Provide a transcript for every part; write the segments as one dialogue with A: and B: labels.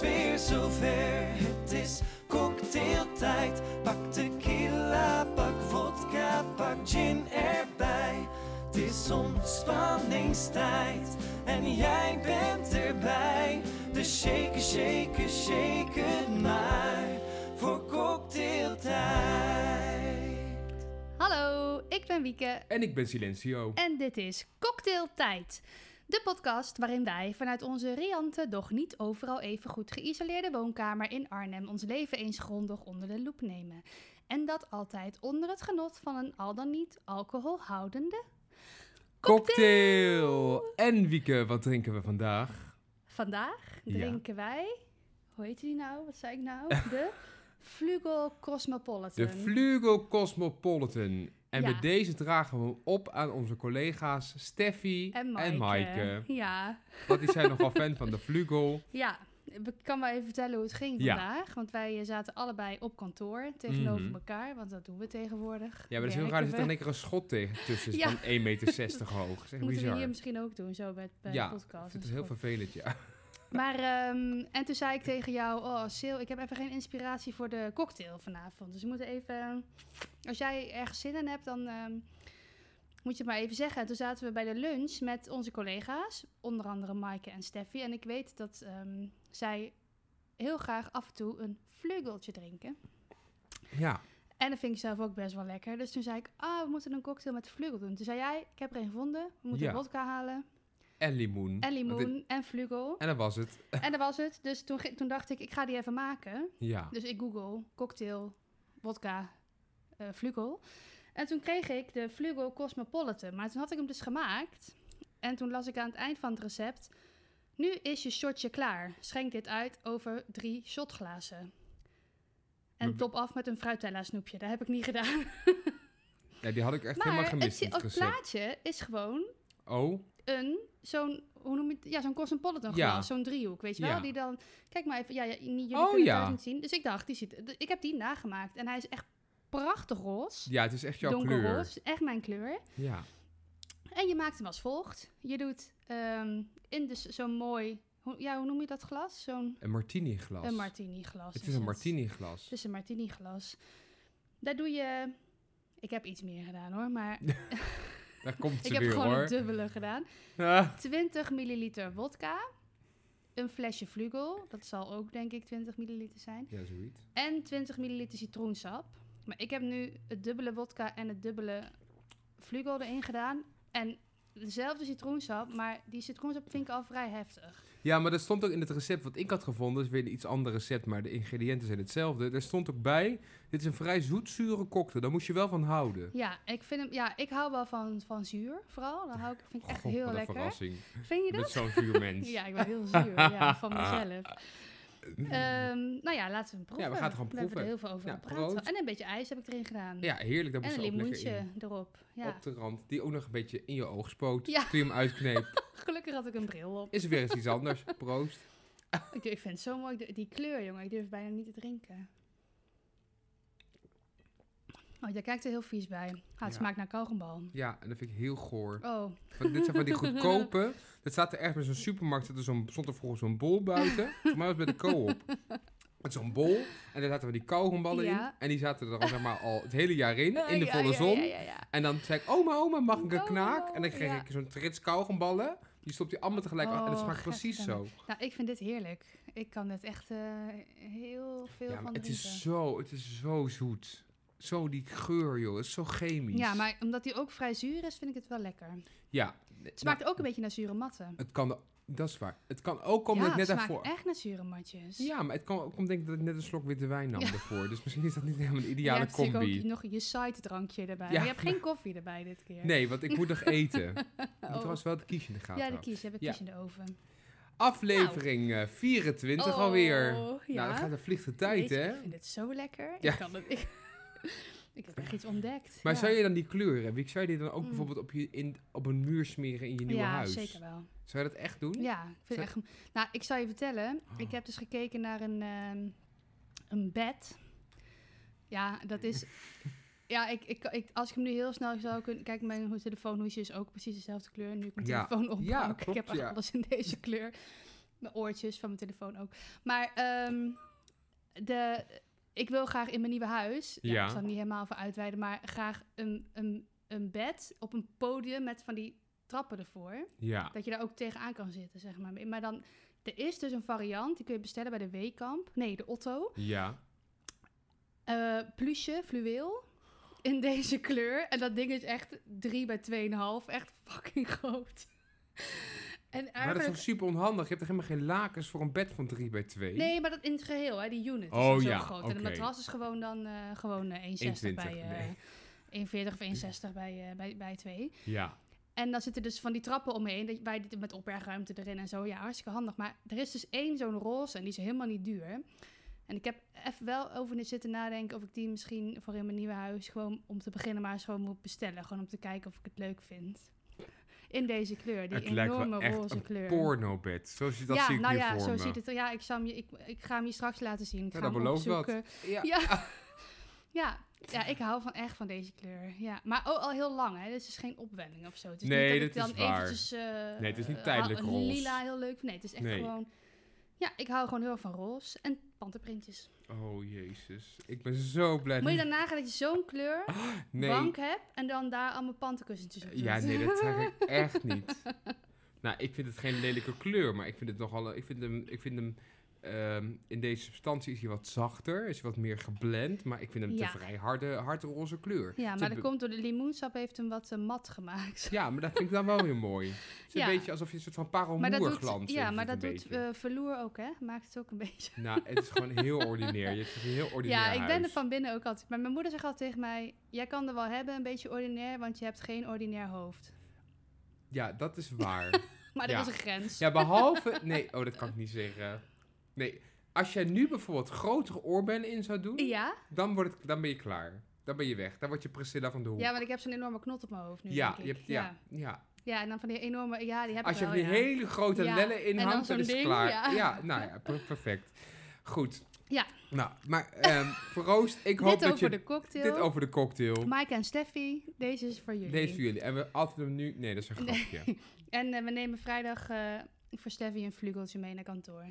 A: weer zover. Het is cocktailtijd. Pak tequila, pak vodka, pak gin erbij. Het is ontspanningstijd en jij bent erbij. Dus shake, shake, shake het maar voor cocktailtijd.
B: Hallo, ik ben Wieke
C: En ik ben Silencio.
B: en dit is Cocktailtijd. De podcast waarin wij vanuit onze riante, doch niet overal even goed geïsoleerde woonkamer in Arnhem ons leven eens grondig onder de loep nemen. En dat altijd onder het genot van een al dan niet alcoholhoudende.
C: Cocktail! En Wieke, wat drinken we vandaag?
B: Vandaag
C: Ja.
B: drinken wij, hoe heet die nou? Wat zei ik nou? De Flugel Cosmopolitan.
C: De Flugel Cosmopolitan. En
B: Ja.
C: bij deze dragen we hem op aan onze collega's Steffi
B: en Maaike.
C: en Maaike.
B: Ja,
C: Want die zijn nogal fan van de Flugel.
B: Ja, ik kan wel even vertellen hoe het ging
C: Ja.
B: vandaag. Want wij eh, zaten allebei op kantoor tegenover
C: Mhm.
B: elkaar. Want dat doen we tegenwoordig.
C: Ja, maar dat is heel
B: Werken
C: raar. Er
B: we.
C: zit dan een keer een schot tegen tussen
B: Ja.
C: van 1,60 meter hoog. Dat is echt
B: Moeten we
C: bizar.
B: hier misschien ook doen, zo bij, bij
C: ja,
B: de podcast.
C: ik vind het heel
B: enzovoort.
C: vervelend, ja.
B: Maar, ehm, en toen zei ik tegen jou, oh Sil, ik heb even geen inspiratie voor de cocktail vanavond. Dus we moeten even, als jij ergens zin in hebt, dan ehm, moet je het maar even zeggen. En toen zaten we bij de lunch met onze collega's, onder andere Maaike en Steffi. En ik weet dat ehm, zij heel graag af en toe een vleugeltje drinken.
C: Ja,
B: En dat vind ik zelf ook best wel lekker. Dus toen zei ik, ah, we moeten een cocktail met vlugel doen. Toen zei jij, ik heb er een gevonden. We moeten
C: Ja.
B: vodka halen
C: en
B: en
C: limoen. Want dit-
B: limoen en vlugel.
C: En dat was het.
B: en dat was het. Dus toen, ge- toen dacht ik, ik ga die even maken.
C: Ja.
B: Dus ik google cocktail, vodka, eh vlugel. En toen kreeg ik de vlugel cosmopolitan. Maar toen had ik hem dus gemaakt. En toen las ik aan het eind van het recept... Nu is je shotje klaar. Schenk dit uit over drie shotglazen. En
C: Maar-
B: top af met een fruitella snoepje. Dat heb ik niet gedaan.
C: ja, die had ik echt
B: Maar
C: helemaal
B: het,
C: gemist,
B: het
C: het recept.
B: plaatje is gewoon
C: Oh,
B: een, zo'n, hoe noem je het? Ja, zo'n cosmopolitan
C: Ja.
B: glas, zo'n driehoek, weet je wel?
C: Ja.
B: Die dan, kijk maar even, ja, ja jullie
C: Oh,
B: kunnen het
C: ja.
B: thuis niet zien. Dus ik dacht, die ziet, d- ik heb die nagemaakt en hij is echt prachtig roze.
C: ja, het is echt jouw kleur.
B: Donkerroze, echt mijn kleur.
C: Ja.
B: En je maakt hem als volgt. Je doet ehm, in dus zo'n mooi, hoe, ja, hoe noem je dat glas? Zo'n
C: Een martini glas.
B: een martini glas.
C: Het is een martini glas.
B: Het is een martini glas. Daar doe je, ik heb iets meer gedaan hoor, maar
C: Daar komt
B: ik
C: ze
B: heb
C: weer
B: gewoon
C: hoor.
B: het dubbele gedaan.
C: Ah,
B: 20 milliliter wodka. Een flesje vlugel. Dat zal ook denk ik 20 milliliter zijn.
C: Ja, zoiets.
B: En 20 milliliter citroensap. Maar ik heb nu het dubbele wodka en het dubbele vlugel erin gedaan. En dezelfde citroensap, maar die citroensap vind ik al vrij heftig.
C: Ja, maar dat stond ook in het recept wat ik had gevonden. Dat is weer een iets ander recept, maar de ingrediënten zijn hetzelfde. Er stond ook bij, dit is een vrij zoetzure cocktail. Daar moest je wel van houden.
B: Ja, ik, vind hem, ja, ik hou wel van, van zuur vooral. Dat hou ik, vind ik echt
C: God,
B: heel
C: Oh, wat een
B: lekker.
C: verrassing.
B: Vind je dat?
C: Met zo'n vuurmens.
B: Ja, ik ben heel zuur ja, van mezelf.
C: Mm.
B: Ehm, nou ja, laten we hem proeven.
C: Ja, we gaan het gewoon
B: Daar hebben
C: proeven.
B: we er heel veel over
C: Ja,
B: gepraat.
C: proost.
B: En een beetje ijs heb ik erin gedaan.
C: Ja, heerlijk. Daar
B: En
C: moest
B: een
C: er ook lekker
B: limoentje
C: in.
B: erop. Ja.
C: Op de rand, die ook nog een beetje in je oog spoot.
B: Ja.
C: Toen je hem uitkneept,
B: Gelukkig had ik een bril op.
C: is er weer eens iets anders. Proost.
B: Ik, durf- ik vind het zo mooi. Die- Die kleur, jongen. Ik durf bijna niet te drinken. Oh, jij kijkt er heel vies bij. Ah, het
C: Ja.
B: smaakt naar kauwgombal.
C: Ja, en dat vind ik heel goor.
B: Oh,
C: Want dit zijn van die goedkope. Dat staat er ergens bij zo'n supermarkt. zat er zo'n- stond er vroeger zo'n bol buiten. Voor mij was het bij de co-op. Met zo'n bol. En daar zaten we die kauwgomballen
B: Ja. Eh,
C: in. En die zaten er al, zeg maar, al het hele jaar in. In de
B: Ja,
C: volle
B: ja,
C: zon.
B: Ja, ja, ja.
C: En dan zei ik, oma, oma, mag ik een
B: Kauwgombal,
C: knaak? En dan kreeg
B: ja.
C: ik zo'n trits kauwgomballen. Die stopt die allemaal tegelijk af. En dat
B: Oh,
C: smaakt precies
B: gadverdamme.
C: zo.
B: Nou, ik vind dit heerlijk. Ik kan dit echt eh, heel veel
C: Ja,
B: van
C: maar het
B: drinken.
C: is zo, het is zo zoet. Zo die geur, joh. Het is zo chemisch.
B: Ja, maar omdat die ook vrij zuur is, vind ik het wel lekker.
C: Ja. nou,
B: Het smaakt ook een beetje naar zure matten.
C: Het kan, dat is waar. Het kan ook komen
B: ja,
C: dat ik net
B: het smaakt
C: daarvoor...
B: echt naar zure matjes.
C: Ja, maar het kan ook omdat ik dat ik net een slok witte wijn nam ervoor. Dus misschien is dat niet helemaal de
B: je
C: ideale
B: hebt natuurlijk
C: combi.
B: ook nog je side drankje erbij.
C: Ja.
B: Je hebt geen koffie erbij dit keer.
C: Nee, want ik moet nog eten.
B: Oh.
C: Het was wel het kiesje in de gaten.
B: Ja, de
C: houden.
B: kies. Heb ik
C: Ja.
B: kies in de oven.
C: Aflevering eh, 24
B: Oh,
C: alweer.
B: ja.
C: Nou, dat gaat een vliegende
B: Weet
C: tijd,
B: je,
C: hè?
B: Ik vind het zo lekker.
C: Ja.
B: Ik, kan het, ik, ik heb echt iets ontdekt.
C: Maar
B: ja.
C: zou je dan die kleuren, Wiek, zou je die dan ook
B: Mm.
C: bijvoorbeeld op, je, in, op een muur smeren in je nieuwe
B: ja,
C: huis?
B: zeker wel.
C: Zou je dat echt doen? Oh.
B: Ja, ik vind
C: Zou-
B: echt... Nou, ik zou je vertellen. Ik heb dus gekeken naar een, ehm, een bed. Ja, dat is... Ja, ik, ik, ik, als ik hem nu heel snel zou kunnen... Kijk, mijn telefoonhoesje is ook precies dezelfde kleur. Nu ik mijn
C: Ja.
B: telefoon oppak.
C: Ja,
B: ik
C: klopt,
B: heb echt
C: ja.
B: alles in deze kleur. Mijn oortjes van mijn telefoon ook. Maar ehm, de, ik wil graag in mijn nieuwe huis. Ja,
C: Ja.
B: Ik zal het niet helemaal voor uitweiden, maar graag een, een, een bed op een podium met van die trappen ervoor.
C: Ja.
B: Dat je daar ook tegenaan kan zitten, zeg maar. Maar dan, er is dus een variant, die kun je bestellen bij de Weekamp. Nee, de Otto.
C: Ja.
B: Eh pluche, fluweel. In deze kleur. En dat ding is echt 3 bij 2,5. Echt fucking groot. En
C: Maar dat is
B: eigenlijk-
C: toch super onhandig? Je hebt er helemaal geen lakens voor een bed van 3 bij 2
B: Nee, maar dat in het geheel, hè, die unit
C: Oh
B: is dan
C: ja,
B: zo groot. En
C: oké.
B: de matras is gewoon dan eh, gewoon eh, 1,60 bij, eh,
C: 1,20, nee.
B: 1,40 of 1,60 bij, eh, bij, bij 2.
C: Ja.
B: En dan zitten dus van die trappen omheen, dat- waar dit met opbergruimte erin en zo. Ja, hartstikke handig. Maar er is dus één zo'n roze en die is helemaal niet duur. En ik heb even wel over zitten nadenken of ik die misschien voor in mijn nieuwe huis gewoon om te beginnen maar eens gewoon moet bestellen. Gewoon om te kijken of ik het leuk vind. In deze kleur, die
C: het lijkt
B: enorme
C: wel echt
B: roze
C: een
B: kleur
C: pornobed. Zoals je dat
B: ja,
C: ziet
B: nou
C: nu
B: ja,
C: voor
B: zo
C: me.
B: ziet het er. Ja, ik, zal hem je, ik, ik ga hem je straks laten zien. Ik
C: Ja,
B: ga
C: dat
B: hem
C: belooft wat.
B: opzoeken.
C: Ja.
B: Ja. ja. Ja, ik hou van echt van deze kleur. Ja. Maar ook al heel lang, hè. Dus het is geen opwelling of zo. Het is
C: Nee,
B: niet dat ik
C: dat is
B: dan
C: waar.
B: eventjes... eh,
C: het is niet
B: eh,
C: tijdelijk
B: hou-
C: roze.
B: Lila heel leuk. Nee, het is echt
C: Nee.
B: gewoon... Ja, ik hou gewoon heel erg van roze. En panterprintjes.
C: Oh, jezus. Ik ben zo blij.
B: Moet je
C: dat-
B: dan nagaan dat je zo'n kleur
C: nee.
B: bank hebt... en dan daar allemaal panterkussentjes op doet.
C: Ja, nee, dat zeg ik echt niet. Nou, ik vind het geen lelijke kleur, maar ik vind het nogal... eh, Ik vind hem... Ik vind hem ehm, in deze substantie is hij wat zachter, is hij wat meer geblend, maar ik vind hem
B: Ja.
C: te vrij harde, harde roze kleur.
B: Ja,
C: Het
B: maar
C: is
B: dat
C: een
B: komt door de limoensap heeft hem wat eh, mat gemaakt.
C: be- Ja, maar dat vind ik dan wel weer mooi. Het is
B: Ja.
C: een beetje alsof je een soort van
B: Maar dat
C: parelmoerglans
B: doet, ja,
C: heeft
B: maar
C: het een
B: dat doet
C: beetje.
B: eh, Verloer ook, hè? Maakt het ook een beetje.
C: Nou, het is gewoon heel ordinair. Je hebt een heel ordinair
B: Ja, ik ben er
C: huis.
B: van binnen ook altijd. Maar mijn moeder zegt altijd tegen mij: Jij kan er wel hebben, een beetje ordinair, want je hebt geen ordinair hoofd.
C: Ja, dat is waar.
B: Maar dat
C: Ja.
B: is een grens.
C: ja, behalve... Nee, oh, dat kan ik niet zeggen. Nee, als jij nu bijvoorbeeld grotere oorbellen in zou doen,
B: Ja?
C: dan, wordt het, dan ben je klaar. Dan ben je weg. Dan word je Priscilla van de Hoek.
B: Ja, want ik heb zo'n enorme knot op mijn hoofd nu.
C: ja,
B: denk
C: je
B: ik.
C: hebt, ja, ja.
B: Ja, en dan van die enorme. Ja, die heb
C: Als
B: ik
C: je
B: wel.
C: van die
B: ja.
C: hele grote
B: Ja,
C: lellen in
B: en dan
C: hangt, dan
B: zo'n
C: is het
B: ding,
C: klaar.
B: ja.
C: Ja. nou ja, per- perfect. Goed.
B: Ja.
C: Nou, maar ehm proost. Ik hoop
B: Dit
C: dat
B: over
C: je...
B: de cocktail.
C: Dit over de cocktail.
B: Mike en Steffi, deze is voor jullie.
C: Deze voor jullie. En we altijd hem nu... Nee, dat is een
B: Nee.
C: grapje.
B: En eh, we nemen vrijdag eh, voor Steffi een vlugeltje mee naar kantoor.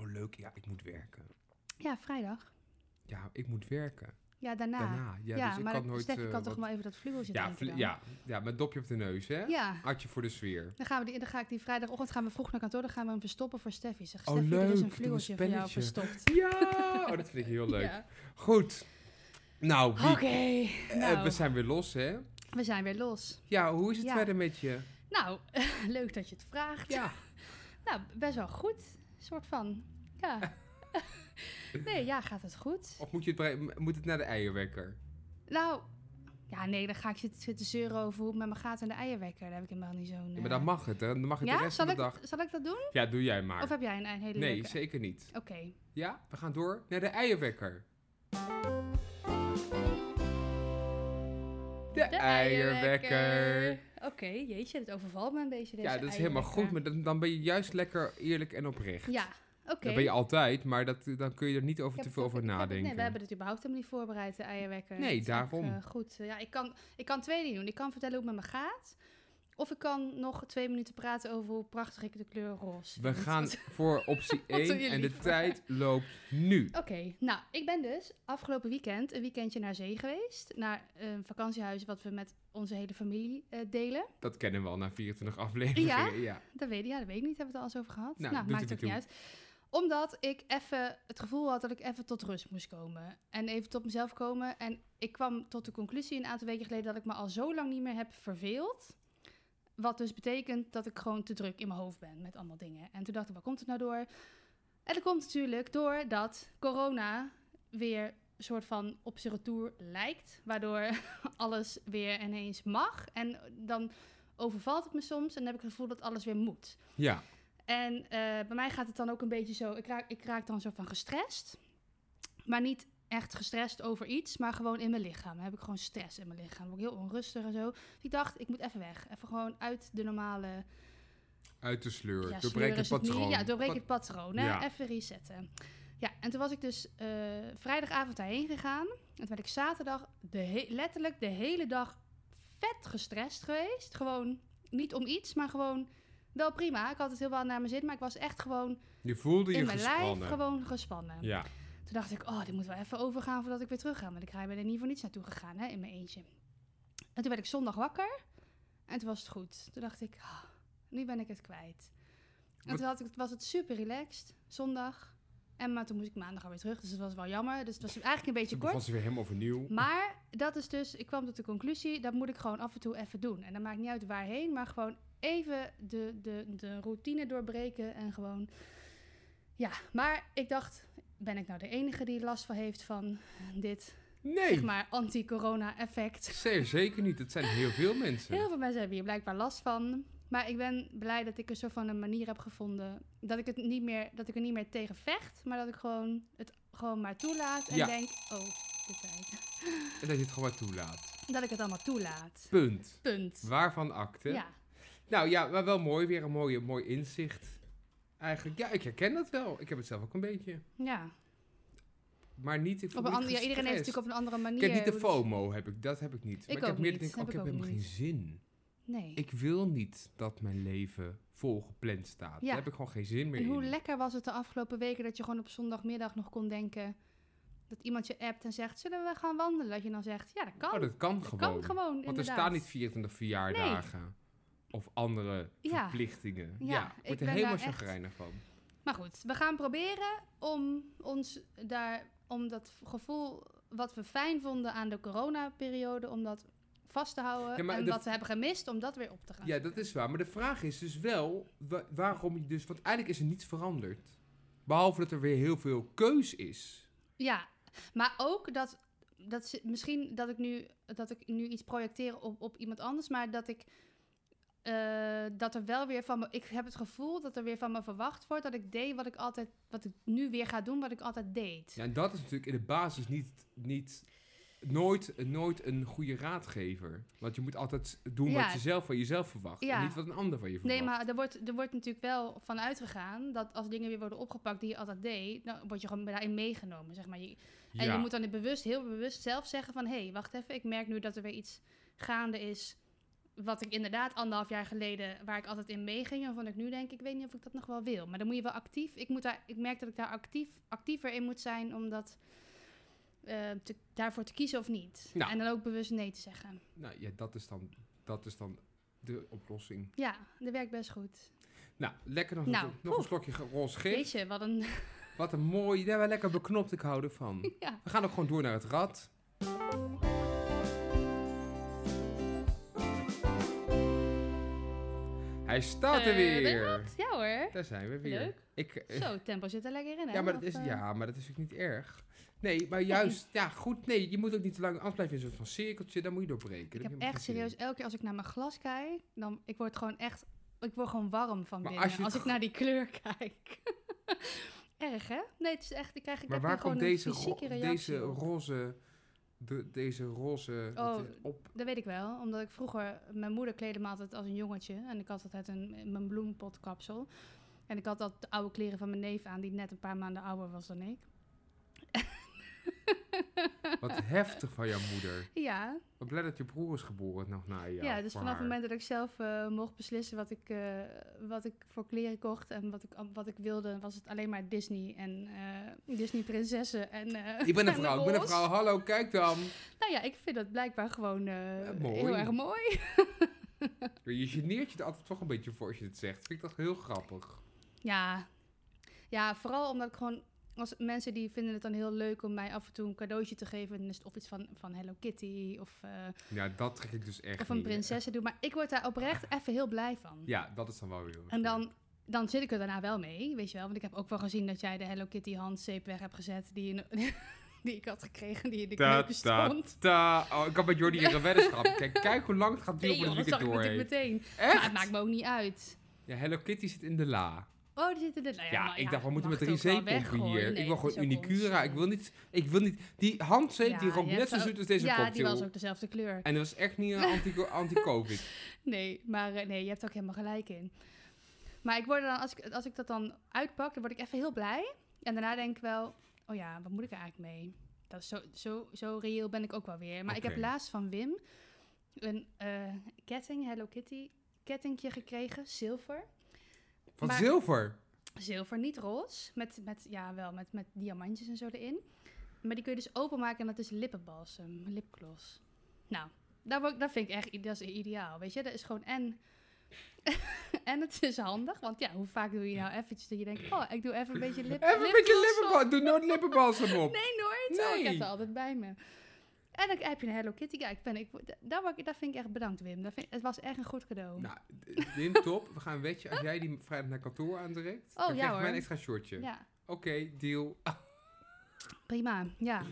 C: Oh, leuk. Ja, ik moet werken.
B: Ja, vrijdag.
C: Ja, ik moet werken.
B: Ja, daarna.
C: Daarna. Ja, dus ik
B: maar
C: kan
B: dat-
C: nooit...
B: Steffi
C: eh,
B: kan toch
C: wat-
B: wel even dat vlugeltje
C: ja,
B: drinken
C: vle-
B: dan?
C: ja, ja, met dopje op de neus, hè?
B: Ja.
C: Hartje voor de sfeer.
B: Dan, gaan we die, dan ga ik die vrijdagochtend gaan we vroeg naar kantoor. Dan gaan we hem verstoppen voor Steffi. Zeg,
C: Oh,
B: Steffi, er
C: leuk.
B: is
C: Doe
B: een
C: een
B: vlugeltje voor jou
C: spelletje.
B: verstopt.
C: Ja! Oh, dat vind ik heel leuk.
B: Ja.
C: Goed. Nou,
B: Oké,
C: wie, eh,
B: nou,
C: we zijn weer los, hè?
B: we zijn weer los.
C: Ja, hoe is het
B: Ja.
C: verder met je?
B: Nou, leuk dat je het vraagt.
C: Ja.
B: Nou, best wel goed, soort van. Ja. nee, ja, gaat het goed?
C: Of moet, je het bre- moet het naar de eierwekker?
B: Nou, ja, nee, dan ga ik zitten, zitten zeuren over hoe het met mijn gaat en de eierwekker. Daar heb ik helemaal niet zo'n...
C: Ja, maar
B: eh,
C: dan mag het, hè? Dan mag het de
B: Ja,
C: rest
B: zal
C: van
B: ik,
C: de dag.
B: zal ik dat doen?
C: Ja, doe jij maar.
B: Of heb jij een, een hele
C: nee,
B: leuke?
C: zeker niet.
B: Oké.
C: Ja, we gaan door naar de eierwekker. De, eierwekker.
B: Oké, jeetje, het overvalt me een beetje deze
C: Ja, dat is helemaal
B: eierwekker.
C: goed, maar dan, dan ben je juist lekker eerlijk en oprecht.
B: Ja, oké.
C: Dat ben je altijd, maar dat, dan kun je er niet over
B: Ik
C: te
B: heb
C: veel
B: het ook- ik
C: over
B: heb het-
C: nadenken.
B: Nee, we hebben het überhaupt helemaal niet voorbereid, de eierwekker.
C: Nee,
B: Dat is ook,
C: daarom.
B: eh, goed, Eh, ja, ik kan, ik kan twee dingen doen. Ik kan vertellen hoe het met me gaat. Of ik kan nog twee minuten praten over hoe prachtig ik de kleur roze
C: We
B: vind.
C: gaan
B: Oké,
C: voor optie
B: Wat doen
C: 1 en
B: jullie
C: de
B: voor?
C: tijd loopt nu.
B: nou, ik ben dus afgelopen weekend een weekendje naar zee geweest. Naar een vakantiehuis wat we met onze hele familie eh, delen.
C: Dat kennen we al na 24 afleveringen.
B: Ja?
C: Ja?
B: Dat weet, ja, dat weet ik niet. Hebben we het al eens over gehad?
C: Nou,
B: Nou,
C: doet
B: maakt
C: er
B: ook niet
C: niet
B: uit. Omdat ik even het gevoel had dat ik even tot rust moest komen. En even tot mezelf komen. En ik kwam tot de conclusie een aantal weken geleden dat ik me al zo lang niet meer heb verveeld. Wat dus betekent dat ik gewoon te druk in mijn hoofd ben met allemaal dingen. En toen dacht ik, waar komt het nou door? En dat komt natuurlijk doordat corona weer een soort van op zijn retour lijkt. Waardoor alles weer ineens mag. En dan overvalt het me soms en dan heb ik het gevoel dat alles weer moet.
C: ja.
B: En eh, bij mij gaat het dan ook een beetje zo. Ik raak, ik raak dan zo van gestrest. Maar niet echt gestrest over iets, maar gewoon in mijn lichaam. Dan heb ik gewoon stress in mijn lichaam. Dan word ik heel onrustig en zo. Dus ik dacht, ik moet even weg. Even gewoon uit de normale...
C: Uit de sleur.
B: ja, sleur
C: Doorbreek het
B: is niet.
C: patroon.
B: Ja, doorbreek
C: Pat-
B: het patroon. Hè?
C: Ja.
B: Even resetten. Ja, en toen was ik dus eh, vrijdagavond daarheen gegaan. En toen ben ik zaterdag de he- letterlijk de hele dag vet gestrest geweest. Gewoon niet om iets, maar gewoon wel prima. Ik had het heel wel naar mijn zin, maar ik was echt gewoon
C: Je voelde je
B: in mijn
C: gespannen.
B: lijf gewoon gespannen.
C: Ja,
B: Toen dacht ik, oh, dit moet wel even overgaan voordat ik weer terug ga. Maar ik ben er niet voor niets naartoe gegaan, hè, in mijn eentje. En toen werd ik zondag wakker en toen was het goed. Toen dacht ik, ah, nu ben ik het kwijt. En
C: Wat-
B: toen had ik, was het super relaxed, zondag. En maar toen moest ik maandag alweer terug, dus dat was wel jammer. Dus het was eigenlijk een beetje
C: toen
B: kort.
C: begon ze weer helemaal overnieuw.
B: Maar dat is dus, ik kwam tot de conclusie, dat moet ik gewoon af en toe even doen. En dat maakt niet uit waarheen, maar gewoon even de, de, de routine doorbreken en gewoon. Ja, maar ik dacht, ben ik nou de enige die last van heeft van dit,
C: Nee,
B: zeg maar, anti-corona-effect?
C: zeer zeker niet. Het zijn heel veel mensen.
B: Heel veel mensen hebben hier blijkbaar last van. Maar ik ben blij dat ik een soort van een manier heb gevonden dat ik, het niet meer, dat ik er niet meer tegen vecht, maar dat ik gewoon het gewoon maar toelaat en
C: Ja.
B: denk, oh, de tijd.
C: En dat je het gewoon maar toelaat.
B: Dat ik het allemaal toelaat.
C: Punt.
B: Punt.
C: Waarvan akte.
B: Ja.
C: Nou ja, maar wel mooi. Weer een mooie, mooi inzicht. Eigenlijk, ja, ik herken dat wel. Ik heb het zelf ook een beetje.
B: Ja,
C: Maar niet... Ik voel
B: op een
C: me
B: andere,
C: niet
B: ja, iedereen heeft natuurlijk op
C: gestrest.
B: een andere manier. dus-
C: Ik heb niet de
B: hoe dat-
C: FOMO, heb ik, dat heb ik niet. maar ik
B: ook
C: heb meer dat
B: niet,
C: ik denk, oh, ik
B: heb
C: heb
B: ik ook
C: helemaal geen zin.
B: Nee.
C: Ik wil niet dat mijn leven volgepland staat.
B: Ja.
C: Daar heb ik gewoon geen zin meer
B: en hoe
C: in.
B: lekker was het de afgelopen weken dat je gewoon op zondagmiddag nog kon denken dat iemand je appt en zegt: Zullen we gaan wandelen? Dat je dan zegt: Ja, dat kan.
C: Oh, dat kan
B: Dat
C: gewoon.
B: kan gewoon.
C: Want er
B: inderdaad.
C: staan niet 24 verjaardagen. Of andere
B: Ja.
C: verplichtingen.
B: Ja,
C: Ja,
B: ik
C: ik word er
B: ben
C: helemaal
B: daar echt-
C: chagrijnig van.
B: Maar goed, we gaan proberen om ons daar, om dat gevoel wat we fijn vonden aan de coronaperiode, om dat vast te houden.
C: Ja, maar
B: en
C: de-
B: wat we hebben gemist, om dat weer op te gaan.
C: Ja, dat is waar. Maar de vraag is dus wel wa- waarom je dus... Want eigenlijk is er niets veranderd. Behalve dat er weer heel veel keus is.
B: Ja, maar ook dat, dat ze- misschien dat ik, nu, dat ik nu iets projecteer op, op iemand anders, maar dat ik eh, dat er wel weer van me, ik heb het gevoel dat er weer van me verwacht wordt dat ik deed wat ik altijd, wat ik nu weer ga doen, wat ik altijd deed.
C: Ja, en dat is natuurlijk in de basis niet, niet, nooit, nooit een goede raadgever. Want je moet altijd doen
B: Ja.
C: wat je zelf van jezelf verwacht.
B: Ja.
C: En niet wat een ander van je verwacht.
B: Nee, maar er wordt, er wordt natuurlijk wel van uitgegaan dat als dingen weer worden opgepakt die je altijd deed, dan word je gewoon daarin meegenomen, zeg maar. Je, En
C: Ja.
B: je moet dan het bewust, heel bewust zelf zeggen van... hé, hey, wacht even, ik merk nu dat er weer iets gaande is... wat ik inderdaad anderhalf jaar geleden... waar ik altijd in meeging en van ik nu denk... ik weet niet of ik dat nog wel wil. Maar dan moet je wel actief... ik, moet daar, ik merk dat ik daar actief, actiever in moet zijn... om dat, eh, te- daarvoor te kiezen of niet.
C: Ja.
B: En dan ook bewust nee te zeggen.
C: Nou ja, dat is dan, dat is dan de oplossing.
B: Ja, dat werkt best goed.
C: Nou, lekker nog,
B: Nou,
C: nog, nog een
B: oeh.
C: slokje ge- roze gif.
B: Weet je, wat een...
C: Wat een mooi. Daar wel lekker beknopt, ik hou ervan.
B: ja.
C: We gaan ook gewoon door naar het rad. Hij staat er
B: Eh,
C: weer.
B: Ja hoor.
C: Daar zijn we weer.
B: Leuk.
C: Ik, eh,
B: Zo, het tempo zit er lekker in, hè?
C: ja, maar dat
B: Of,
C: is,
B: eh,
C: ja, maar dat is ook niet erg. Nee, maar juist, ja, goed. Nee, je moet ook niet te lang, anders blijf je in een soort van cirkeltje, daar moet je doorbreken. Daar
B: Ik heb
C: helemaal
B: echt
C: geen zin in.
B: serieus, elke keer als ik naar mijn glas kijk, dan ik word gewoon echt, ik word gewoon warm van
C: Maar
B: binnen als,
C: als je het
B: ik naar die kleur kijk. Erg hè? Nee, het is echt, ik krijg ik
C: Maar
B: heb
C: waar
B: hier gewoon
C: komt
B: een
C: deze, ro-
B: fysieke reactie.
C: deze
B: op.
C: roze, de, deze roze wat
B: Oh,
C: is op?
B: Dat weet ik wel, omdat ik vroeger mijn moeder kleedde me altijd als een jongetje en ik had altijd een mijn bloempotkapsel. En ik had dat de oude kleren van mijn neef aan die net een paar maanden ouder was dan ik.
C: Wat heftig van jouw moeder.
B: Ja,
C: Wat blij dat je broer is geboren nog na jou.
B: ja, dus
C: voor
B: vanaf het
C: haar.
B: moment dat ik zelf eh, mocht beslissen wat ik, eh, wat ik voor kleren kocht en wat ik, wat ik wilde, was het alleen maar Disney en eh, Disney-prinsessen. En, eh,
C: Ik ben een
B: en
C: vrouw, ik ben een
B: roze.
C: vrouw. Hallo, kijk dan.
B: Nou ja, ik vind dat blijkbaar gewoon eh,
C: Ja, mooi.
B: heel erg mooi.
C: Je geneert je er altijd toch een beetje voor als je dit zegt. Vind ik dat heel grappig.
B: Ja. ja, vooral omdat ik gewoon... Als mensen die vinden het dan heel leuk om mij af en toe een cadeautje te geven. Dan is het of iets van, van Hello Kitty of, eh,
C: Ja, dat trek ik dus echt
B: of een
C: niet.
B: prinsessen doen. Maar ik word daar oprecht even heel blij van.
C: Ja, dat is dan wel weer heel
B: En
C: leuk.
B: dan, dan zit ik er daarna wel mee, weet je wel. Want ik heb ook wel gezien dat jij de Hello Kitty handzeep weg hebt gezet... die, in- die ik had gekregen, die in de
C: Ta,
B: keuken
C: ta,
B: stond.
C: ta. Oh, ik had met Jordi hier een weddenschap. Kijk, kijk hoe lang het gaat duren
B: Nee, joh,
C: voordat
B: dat zag
C: ik het
B: ik
C: door
B: natuurlijk
C: heeft.
B: meteen. Maar het maakt
C: Echt?
B: me ook niet uit.
C: Ja, Hello Kitty zit in de la.
B: Oh, die zitten er... Nou ja,
C: Ja,
B: maar
C: ik dacht, we moeten
B: mag
C: met
B: het ook wel
C: Rizé-pompen
B: weggooien.
C: hier.
B: Nee,
C: ik wil
B: het is ook
C: gewoon Unicura.
B: onzin.
C: Ik wil, niet, ik wil niet... Die handzeep
B: Ja,
C: die
B: je
C: rookt net
B: hebt
C: zo
B: wel-
C: zoet als deze
B: ja,
C: cocktail.
B: die was ook dezelfde kleur.
C: En dat was echt niet eh, anti- anti-covid.
B: Nee, maar eh, nee, je hebt er ook helemaal gelijk in. Maar ik word er dan, als, ik, als ik dat dan uitpak, dan word ik even heel blij. En daarna denk ik wel, oh ja, wat moet ik er eigenlijk mee? Dat is zo, zo, zo reëel ben ik ook wel weer. Maar ik heb
C: Oké.
B: laatst van Wim een eh, ketting, Hello Kitty, kettingje gekregen, zilver.
C: Van
B: Maar-
C: zilver.
B: Zilver, niet roze. Met, met, ja, wel, met, met diamantjes en zo erin. Maar die kun je dus openmaken en dat is lippenbalsem, lipgloss. Nou, daar wo- dat vind ik echt i- dat is ideaal. Weet je, dat is gewoon en. en het is handig, want ja, hoe vaak doe je nou eventjes dat je denkt: oh, ik doe even een beetje lip.
C: Even een beetje
B: lipgloss op.
C: lippenbalsem. Doe nooit lippenbalsem op.
B: Nee, nooit. Oh, ik heb
C: Nee.
B: het altijd bij me. En dan heb je een Hello Kitty. Ja, ik ben, ik, daar, word ik- daar vind ik echt bedankt, Wim. Dat vind, het was echt een goed cadeau.
C: Nou, d- Wim, top. We gaan een wetje. Als jij die vrijdag naar kantoor aantrekt,
B: Oh,
C: dan
B: ja
C: krijg je
B: hoor.
C: mijn extra shortje.
B: ja,
C: Oké, deal.
B: prima. Ja.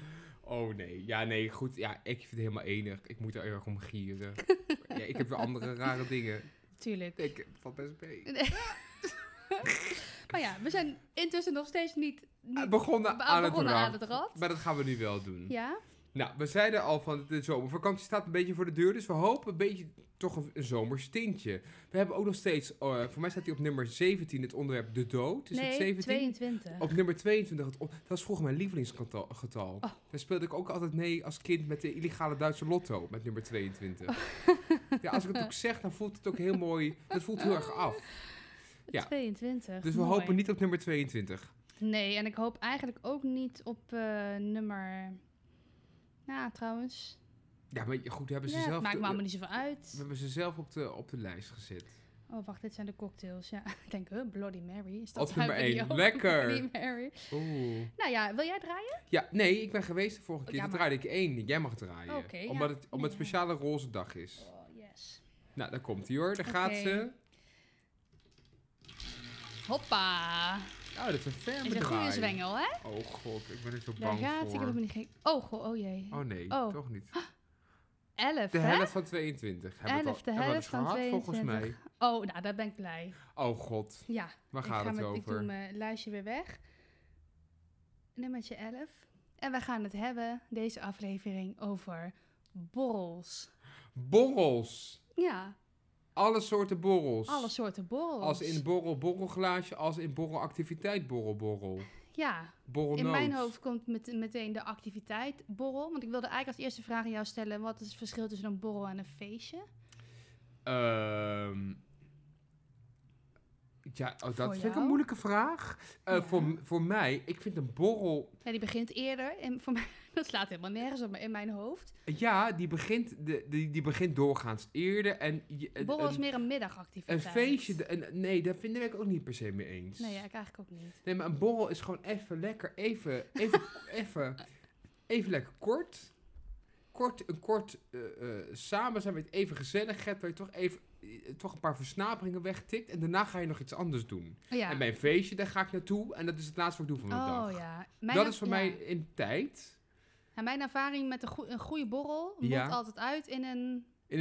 C: Oh nee, ja nee, goed. Ja, ik vind het helemaal enig. Ik moet er heel erg om gieren. ja, ik heb weer andere rare dingen.
B: Tuurlijk.
C: Ik valt best mee.
B: Maar ja, we zijn intussen nog steeds niet, niet
C: Ah, begonnen
B: be-
C: aan het
B: begonnen
C: rad.
B: aan het rad.
C: Maar dat gaan we nu wel doen.
B: Ja,
C: Nou, we zeiden al van de zomervakantie staat een beetje voor de deur. Dus we hopen een beetje toch een, een zomerstintje. We hebben ook nog steeds, eh, voor mij staat hij op nummer 17, het onderwerp de dood. Is het
B: nee,
C: 17?
B: 22.
C: Op nummer 22, het on- dat was vroeger mijn lievelingsgetal. getal.
B: Oh.
C: Daar speelde ik ook altijd mee als kind met de illegale Duitse lotto, met nummer 22.
B: Oh.
C: Ja, als ik het ook zeg, dan voelt het ook heel mooi, dat voelt heel erg af. ja.
B: 22.
C: Dus we
B: mooi.
C: hopen niet op nummer 22.
B: Nee, en ik hoop eigenlijk ook niet op eh, nummer. Nou, trouwens.
C: Ja, maar goed, hebben ze
B: Ja,
C: zelf...
B: het maakt
C: de-
B: me allemaal niet zoveel
C: we
B: uit.
C: hebben ze zelf op de, op de lijst gezet.
B: Oh, wacht, dit zijn de cocktails. Ja, ik denk, huh, Bloody Mary. Is dat
C: Op nummer
B: hebben die
C: één.
B: ook?
C: Lekker.
B: Bloody Mary.
C: Oeh.
B: Nou ja, wil jij draaien?
C: Ja, nee, ik ben geweest de vorige keer.
B: Oh, Ja,
C: Toen
B: maar-
C: draaide ik één. Jij mag draaien.
B: Oké, ja.
C: omdat het, omdat het
B: Ja.
C: speciale roze dag is.
B: Oh, yes.
C: Nou, daar komt hij hoor. Daar gaat
B: Oké.
C: ze.
B: Hoppa.
C: Oh, dat is een ferme
B: Is een goede
C: draai.
B: zwengel, hè?
C: Oh god, ik ben er zo
B: Daar
C: bang
B: gaat. Ik
C: voor.
B: heb hem niet gek. Oh, goh, oh jee.
C: Oh nee,
B: Oh.
C: toch niet.
B: 11,
C: De
B: hè?
C: helft van 22. Hebben we het al-
B: Elf, de
C: hebben we
B: helft
C: het eens
B: van
C: gehad, volgens
B: 22. Oh, nou, daar ben ik blij.
C: mij. Oh god,
B: Ja,
C: waar
B: ik,
C: gaat
B: ga
C: het
B: met, ik doe
C: over?
B: mijn lijstje weer weg. Nummertje 11. En we gaan het hebben, deze aflevering, over borrels.
C: Borrels.
B: Ja,
C: Alle soorten borrels.
B: alle soorten borrels.
C: Als in borrel borrelglaasje, als in borrelactiviteit borrel borrel.
B: Ja,
C: Borrelnoot.
B: in mijn hoofd komt met, meteen de activiteit borrel. Want ik wilde eigenlijk als eerste vraag aan jou stellen, wat is het verschil tussen een borrel en een feestje?
C: Ehm, ja, oh, dat
B: Voor
C: vind ik
B: jou?
C: een moeilijke vraag. Eh,
B: Ja.
C: voor, voor mij, ik vind een borrel...
B: Ja, die begint eerder en voor mij, dat slaat helemaal nergens op, maar in mijn hoofd.
C: Ja, die begint, de, die, die begint doorgaans eerder. En je- een-
B: Borrel is
C: een-
B: meer een
C: Een
B: middagactiviteit.
C: feestje, de- een, nee, daar vind ik ook niet per se mee eens.
B: Nee, ja, ik eigenlijk ook niet.
C: Nee, maar een borrel is gewoon even lekker, even, even, even, even lekker kort. Kort, een kort eh, eh, samen zijn met even gezelligheid, waar je toch even, eh, toch een paar versnaperingen wegtikt. En daarna ga je nog iets anders doen.
B: Ja.
C: En bij een feestje, daar ga ik naartoe en dat is het laatste wat ik doe van de
B: Oh
C: dag.
B: ja.
C: dat
B: er-
C: is voor
B: ja.
C: mij in tijd,
B: Ja, mijn ervaring met een, goe- een goede borrel moet
C: Ja.
B: altijd uit in een
C: in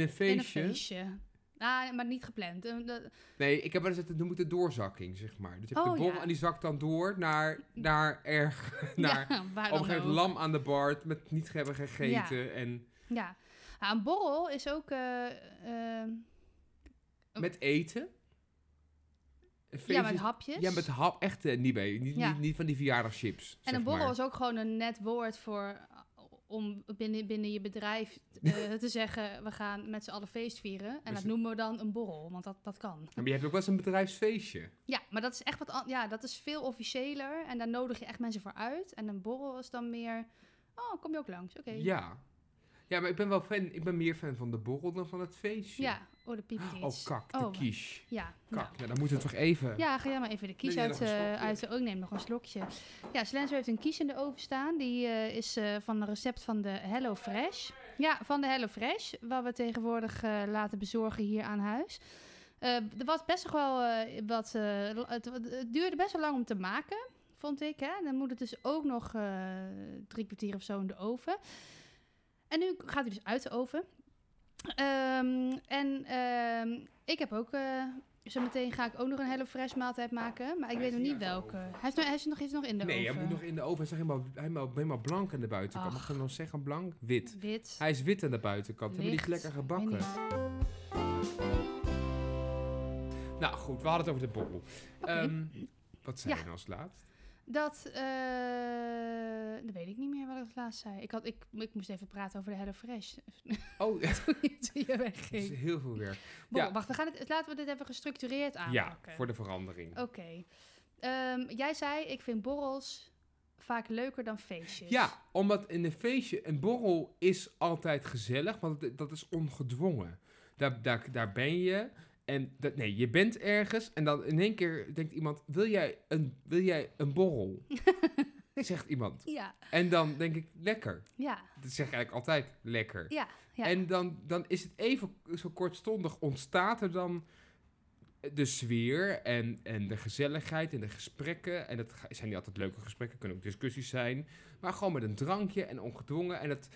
B: in
C: een
B: een
C: feestje.
B: feestje. Ah, maar niet gepland. Een- dat-
C: Nee, ik heb wel eens het, noem het de doorzakking, zeg maar. Dus je hebt
B: Oh,
C: de borrel
B: ja.
C: en die zakt dan door naar, naar erg, naar...
B: ja, waar
C: Op
B: dan
C: een gegeven
B: ook.
C: moment lam aan de bar met niet hebben gegeten. En
B: Ja. Ah, een borrel is ook... eh, eh,
C: met eten. Een
B: ja, met
C: feestje-
B: hapjes.
C: Ja, met hap. Echt eh, niet bij. Niet,
B: Ja.
C: niet, niet van die verjaardagschips.
B: en
C: zeg
B: een borrel
C: maar.
B: is ook gewoon een net woord voor... eh, om binnen, binnen je bedrijf eh, te zeggen... we gaan met z'n allen feest vieren. En
C: Dus-
B: dat noemen we dan een borrel, want dat, dat kan.
C: Maar je hebt ook wel eens een bedrijfsfeestje.
B: Ja, maar dat is echt wat... an- Ja, dat is veel officiëler. En daar nodig je echt mensen voor uit. En een borrel is dan meer... Oh, kom je ook langs? Oké.
C: Ja. Ja, maar ik ben wel fan. Ik ben meer fan van de borrel dan van het feestje.
B: Ja, oh, de piept iets.
C: Oh, kak. De
B: Oh,
C: quiche.
B: Ja,
C: Kak.
B: nou.
C: Ja, dan moeten we toch even.
B: ja, ga jij maar even de kies
C: Neem jij
B: uit,
C: nog een
B: eh,
C: slokje?
B: uit de... Oh, ik neem nog een slokje. Ja, Slenzo heeft een kies in de oven staan. Die eh, is eh, van een recept van de Hello Fresh. Ja, van de Hello Fresh. Wat we tegenwoordig eh, laten bezorgen hier aan huis. Eh, er was best nog wel eh, wat... eh, la- het, het duurde best wel lang om te maken, vond ik. Hè? Dan moet het dus ook nog eh, drie kwartier of zo in de oven. En nu gaat hij dus uit de oven. Ehm, en ehm, ik heb ook... eh, Zometeen ga ik ook nog een hele fresh maaltijd maken, maar ik
C: Hij
B: weet
C: is
B: nog niet
C: niet uit de
B: welke.
C: oven.
B: Hij is, nog, hij is nog, hij is nog in de
C: nee,
B: oven.
C: hij moet nog in de oven. Hij is helemaal, helemaal, helemaal blank aan de buitenkant.
B: Ach.
C: Mag ik nog zeggen blank? Wit.
B: Wit.
C: Hij is wit aan de buitenkant. Hebben die het
B: Licht.
C: lekker gebakken?
B: Weet niet.
C: Nou goed, we hadden het over de borrel.
B: Oké.
C: Ehm, wat zei
B: Ja.
C: je nou als laatst?
B: Dat, eh, dat weet ik niet meer wat ik het laatst zei. Ik, had, ik, ik moest even praten over de HelloFresh
C: Oh, dat
B: toen je- toen je
C: is
B: wegging.
C: heel veel werk.
B: Bon,
C: ja.
B: Wacht, we gaan het, laten we dit even gestructureerd
C: Ja,
B: aanpakken.
C: voor de verandering.
B: Ah, Oké. Ehm, jij zei, ik vind borrels vaak leuker dan feestjes.
C: Ja, omdat in een feestje, een borrel is altijd gezellig, want het- dat is ongedwongen. Daar, daar, daar ben je. En dat, nee, je bent ergens en dan in één keer denkt iemand, wil jij een, wil jij een borrel? zegt iemand.
B: Ja,
C: En dan denk ik, lekker.
B: ja,
C: Dat zeg ik eigenlijk altijd, lekker.
B: ja. ja.
C: En dan, dan is het even zo kortstondig ontstaat er dan de sfeer en, en de gezelligheid en de gesprekken. En dat ga- zijn niet altijd leuke gesprekken, kunnen ook discussies zijn. Maar gewoon met een drankje en ongedwongen. En dat,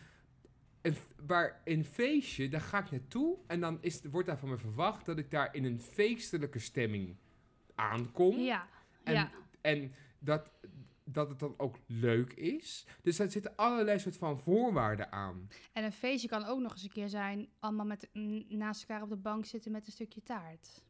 C: en f- waar een feestje, daar ga ik naartoe. En dan is, het- wordt daar van me verwacht dat ik daar in een feestelijke stemming aankom.
B: ja,
C: En
B: ja.
C: En dat, dat het dan ook leuk is. Dus daar zitten allerlei soort van voorwaarden aan.
B: En een feestje kan ook nog eens een keer zijn, allemaal met, mm, naast elkaar op de bank zitten met een stukje taart.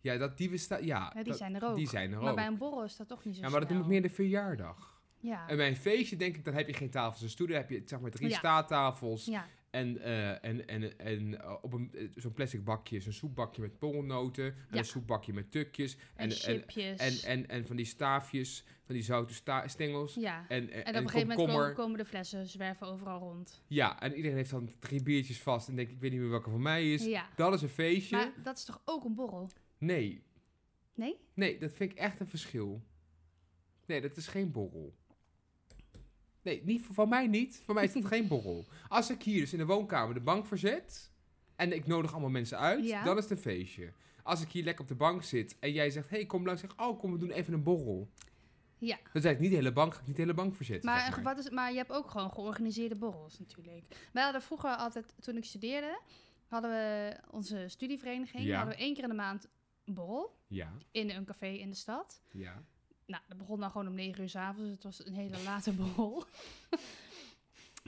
C: Ja, dat die bestaan. Ja,
B: Ja, die
C: Ah, dat-
B: zijn er ook.
C: Die zijn er
B: Maar
C: ook.
B: bij een borrel is dat toch niet zo
C: ja, maar dat noem
B: snel.
C: ik meer de verjaardag.
B: Ja,
C: En bij een feestje denk ik, dan heb je geen tafels en stoelen. Dan heb je zeg maar drie
B: Ja.
C: staattafels.
B: ja,
C: En, eh, en, en, en eh, op een, eh, zo'n plastic bakje is een soepbakje met borrelnoten. En
B: Ja.
C: een soepbakje met tukjes.
B: en,
C: en,
B: chipjes.
C: en, en, en van die staafjes, van die zoute sta- stengels.
B: ja.
C: En,
B: En
C: en, en
B: op een gegeven moment
C: komkommer.
B: komen, komen de flessen zwerven overal rond.
C: Ja, en iedereen heeft dan drie biertjes vast. En denk ik, ik weet niet meer welke van mij is.
B: Ja,
C: Dat is een feestje.
B: maar dat is toch ook een borrel?
C: Nee,
B: Nee?
C: Nee, dat vind ik echt een verschil. Nee, dat is geen borrel. Nee, niet, van mij niet. Van mij is dat geen borrel. Als ik hier dus in de woonkamer de bank verzet en ik nodig allemaal mensen uit,
B: Ja.
C: dan is het een feestje. Als ik hier lekker op de bank zit en jij zegt, hey, kom langs, zeg, ik, oh, kom, we doen even een borrel.
B: Ja.
C: Dan zeg ik niet de hele bank, ga ik niet de hele bank verzetten.
B: Maar,
C: zeg
B: een- wat is, maar je hebt ook gewoon georganiseerde borrels natuurlijk. Wij hadden vroeger altijd, toen ik studeerde, hadden we onze studievereniging.
C: Ja.
B: Hadden we één keer in de maand een borrel
C: Ja,
B: in een café in de stad.
C: ja.
B: Nou, dat begon dan gewoon om negen uur s'avonds. Het was een hele late borrel.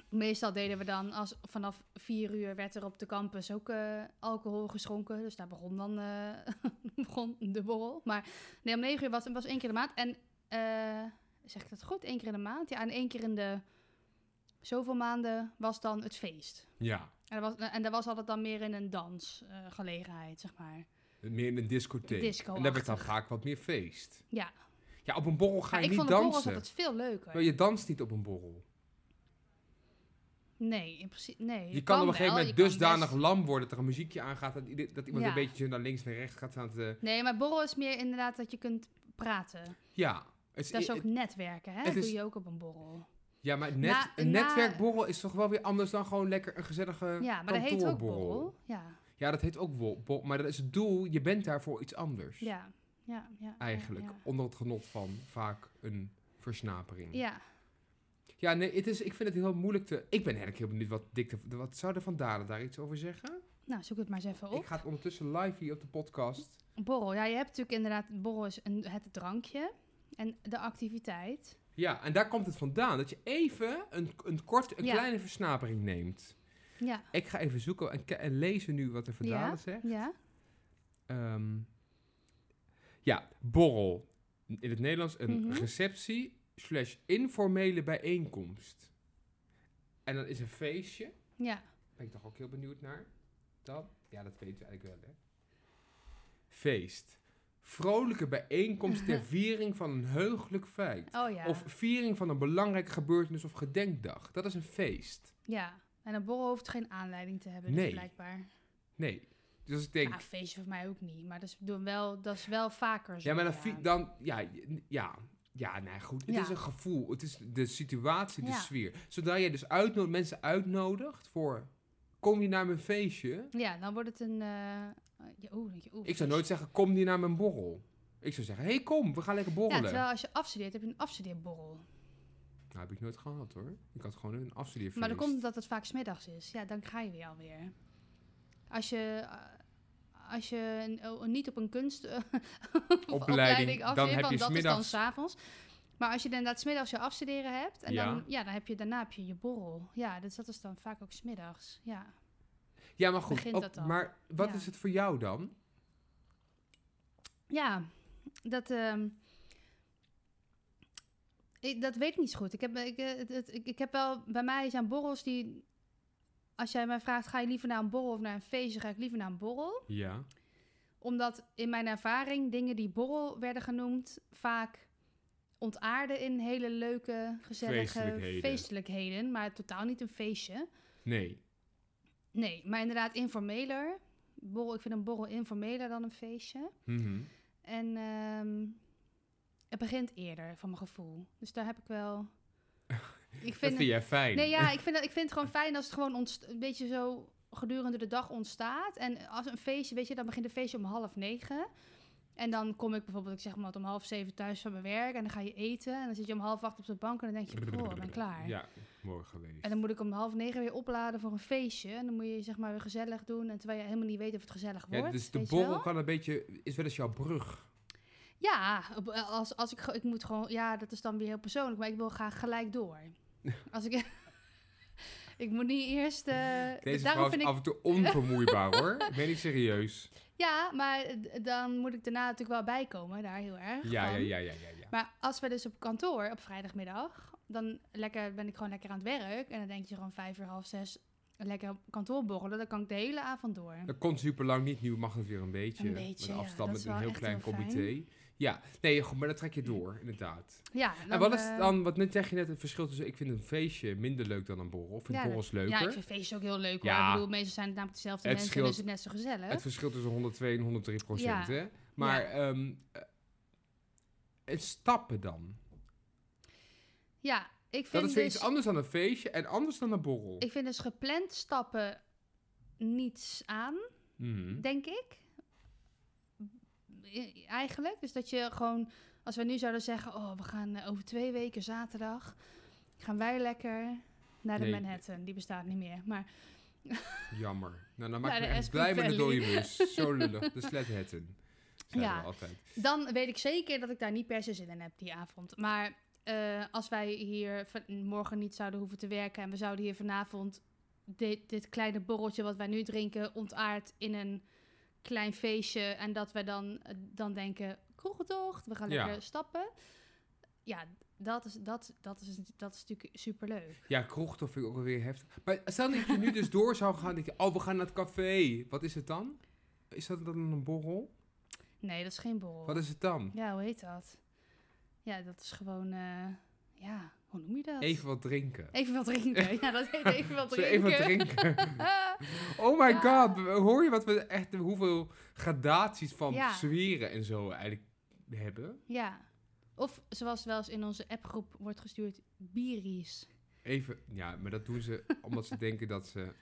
B: Meestal deden we dan, als, vanaf vier uur werd er op de campus ook eh, alcohol geschonken. Dus daar begon dan eh, begon de borrel. Maar nee, om negen uur was was één keer in de maand. En eh, zeg ik dat goed? Eén keer in de maand? Ja, en één keer in de zoveel maanden was dan het feest.
C: Ja.
B: En dat was, en dat was altijd dan meer in een dansgelegenheid, gelegenheid zeg maar.
C: Meer in een discotheek.
B: Disco-achtig.
C: en daar werd dan vaak wat meer feest.
B: Ja.
C: Ja, op een borrel ga
B: Maar
C: je
B: ik
C: niet
B: vond de
C: dansen.
B: borrels altijd veel leuker.
C: Maar je danst niet op een borrel.
B: Nee, in principe. Nee,
C: Je kan op een
B: wel,
C: gegeven moment
B: je kan
C: dusdanig
B: best-
C: lam worden dat er een muziekje aangaat. Dat, ieder- dat iemand
B: Ja.
C: een beetje zo naar links en rechts gaat eh, staan te...
B: Nee, maar borrel is meer inderdaad dat je kunt praten. Dus
C: Ja. Het is,
B: Dat is
C: i-
B: ook netwerken, hè?
C: het
B: Dat
C: is-
B: doe je ook op een borrel.
C: ja, maar net,
B: Na-
C: een
B: na-
C: netwerkborrel is toch wel weer anders dan gewoon lekker een gezellige
B: Ja, maar dat
C: kantoorborrel.
B: heet ook borrel. Ja,
C: Ja, dat heet ook wol- borrel. Maar dat is het doel. Je bent daarvoor iets anders.
B: ja, ja. ja
C: Eigenlijk.
B: Ja, ja.
C: Onder het genot van vaak een versnapering.
B: Ja,
C: Ja, nee, het is, ik vind het heel moeilijk te... Ik ben eigenlijk heel benieuwd wat Dick... de- Wat zou de Van Dalen daar iets over zeggen?
B: nou zoek het maar eens even
C: Ik
B: op.
C: ga het ondertussen live hier op de podcast...
B: Borrel, ja, je hebt natuurlijk inderdaad... Borrel is een, het drankje en de activiteit.
C: Ja, en daar komt het vandaan. Dat je even een, een kort, een
B: Ja.
C: kleine versnapering neemt.
B: Ja,
C: Ik ga even zoeken en, ke- en lezen nu wat er vandaan
B: ja,
C: zegt.
B: ja.
C: Ehm, ja, borrel. In het Nederlands een
B: Mhm.
C: receptie slash informele bijeenkomst. En dan is een feestje.
B: Ja,
C: Ben ik toch ook heel benieuwd naar. Dan? Ja, dat weten we eigenlijk wel, hè. Feest. Vrolijke bijeenkomst ter viering van een heugelijk feit.
B: oh ja.
C: Of viering van een belangrijke gebeurtenis of gedenkdag. Dat is een feest.
B: Ja, en een borrel hoeft geen aanleiding te hebben, dus
C: Nee.
B: blijkbaar.
C: Nee. Dus als ik denk...
B: Ah, feestje voor mij ook niet, maar dat is, doen wel, dat is wel vaker zo.
C: ja, maar dan... vi- dan ja, j- ja, ja, nee, goed. Het
B: Ja.
C: is een gevoel. Het is de situatie, de
B: Ja.
C: sfeer. Zodra je dus uitnodigt, mensen uitnodigt voor... Kom je naar mijn feestje?
B: Ja, dan wordt het een... eh, ja, oeh, denk je, oeh,
C: Ik zou
B: vies.
C: nooit zeggen, kom niet naar mijn borrel. Ik zou zeggen, hey, kom, we gaan lekker
B: Ja,
C: borrelen.
B: terwijl als je afstudeert, heb je een afstudeerborrel.
C: Nou, heb ik nooit gehad, hoor. Ik had gewoon een afstudeerfeest.
B: Maar dan komt het dat het vaak smiddags is. Ja, dan ga je weer alweer. Als je, eh, als je een- oh, niet op een kunst eh, of afstudeert,
C: dan heb
B: want
C: je
B: dat is dan
C: smiddags-
B: s'avonds. Maar als je inderdaad smiddags je afstuderen hebt, en
C: Ja.
B: Dan, ja, dan heb je daarna heb je je borrel. Ja, dus dat is dan vaak ook smiddags. Ja.
C: Ja, maar goed.
B: begint
C: ook-
B: dat dan.
C: Maar wat
B: Ja.
C: is het voor jou dan?
B: Ja, dat. ehm, Ik, dat weet ik niet zo goed. Ik heb, ik, eh, het- het- ik, ik heb wel, bij mij zijn borrels die... Als jij mij vraagt, ga je liever naar een borrel of naar een feestje, ga ik liever naar een borrel.
C: Ja.
B: Omdat in mijn ervaring dingen die borrel werden genoemd vaak ontaarden in hele leuke, gezellige
C: Feestelijkheden.
B: feestelijkheden. Maar totaal niet een feestje.
C: Nee.
B: Nee, maar inderdaad informeler. Borrel, ik vind een borrel informeler dan een feestje.
C: Mhm.
B: En ehm, het begint eerder, van mijn gevoel. Dus daar heb ik wel... Ik
C: Dat
B: vind,
C: vind jij fijn.
B: Nee, ja, ik vind, dat, ik vind het gewoon fijn als het gewoon ontst- een beetje zo gedurende de dag ontstaat. En als een feestje, weet je, dan begint een feestje om half negen. En dan kom ik bijvoorbeeld, ik zeg maar wat, om half zeven thuis van mijn werk. En dan ga je eten. En dan zit je om half acht op de bank en dan denk je, oh, ik ben klaar.
C: Ja, morgen geweest.
B: En dan moet ik om half negen weer opladen voor een feestje. En dan moet je zeg maar weer gezellig doen. En terwijl je helemaal niet weet of het gezellig wordt.
C: ja, dus de
B: weet je wel?
C: borrel kan een beetje, is wel eens jouw brug.
B: Ja, op- eh, als, als ik, ge- ik moet gewoon... Ja, dat is dan weer heel persoonlijk. Maar ik wil graag gelijk door. Als ik... ik moet niet eerst... eh,
C: Deze
B: daarom
C: vrouw
B: vind
C: is
B: ik,
C: af en toe onvermoeibaar hoor. Ik ben niet serieus.
B: Ja, maar d- dan moet ik daarna natuurlijk wel bijkomen. Daar heel erg
C: Ja, ja,
B: van.
C: ja, ja, ja. ja.
B: Maar als we dus op kantoor op vrijdagmiddag... Dan lekker, ben ik gewoon lekker aan het werk. En dan denk je gewoon vijf uur, half zes... Lekker op kantoor borrelen. Dan kan ik de hele avond door.
C: Dat kon super lang niet, nu mag het weer een beetje.
B: Een beetje,
C: met
B: ja,
C: afstand,
B: dat
C: met
B: is
C: een
B: wel
C: heel
B: echt
C: klein
B: heel fijn.
C: comité. Ja, nee, goed, maar dat trek je door, inderdaad.
B: Ja,
C: en wat is
B: eh,
C: dan, wat net zeg je net, het verschil tussen ik vind een feestje minder leuk dan een borrel. Ik vind
B: Ja,
C: borrels leuker.
B: Ja, ik vind feestjes ook heel leuk. Hoor.
C: Ja.
B: Ik bedoel, meestal zijn het namelijk dezelfde
C: Het
B: mensen en
C: scheelt-
B: is het net zo gezellig.
C: Het verschil tussen 102 en 103 procent,
B: Ja.
C: hè? Maar, ehm, eh, en stappen dan?
B: ja, ik
C: Dat
B: vind,
C: is weer
B: dus,
C: iets anders dan een feestje en anders dan een borrel.
B: ik vind dus gepland stappen niets aan,
C: Mhm.
B: denk ik. I- Eigenlijk. Dus dat je gewoon, als we nu zouden zeggen, oh, we gaan eh, over twee weken zaterdag, gaan wij lekker naar de
C: Nee.
B: Manhattan. Die bestaat niet meer. Maar
C: Jammer. Nou, dan maak ik
B: Naar
C: me
B: de
C: echt
B: Aspen
C: blij met de
B: Valley.
C: dode mus. Zo lullig. De sletherten.
B: Ja.
C: Ja. We altijd.
B: Dan weet ik zeker dat ik daar niet per se zin in heb die avond. Maar eh, als wij hier van- morgen niet zouden hoeven te werken en we zouden hier vanavond dit, dit kleine borreltje wat wij nu drinken ontaard in een klein feestje en dat we dan, eh, dan denken, kroegentocht, we gaan
C: Ja.
B: lekker stappen. Ja, dat is, dat, dat is, dat is natuurlijk superleuk.
C: Ja, kroegtof vind ik ook wel weer heftig. Maar stel dat je nu dus door zou gaan. Dat je, oh, we gaan naar het café. Wat is het dan? Is dat dan een borrel?
B: Nee, dat is geen borrel.
C: Wat is het dan?
B: Ja, hoe heet dat? Ja, dat is gewoon, eh, ja, hoe noem je dat?
C: Even wat drinken.
B: Even wat drinken. Ja, dat heet even wat
C: Zullen
B: drinken.
C: we even wat drinken? Oh my
B: Ja.
C: god, hoor je wat we echt, hoeveel gradaties van
B: Ja.
C: zweren en zo eigenlijk hebben?
B: ja. Of zoals wel eens in onze appgroep wordt gestuurd, bieries.
C: Even, ja, maar dat doen ze omdat ze denken dat ze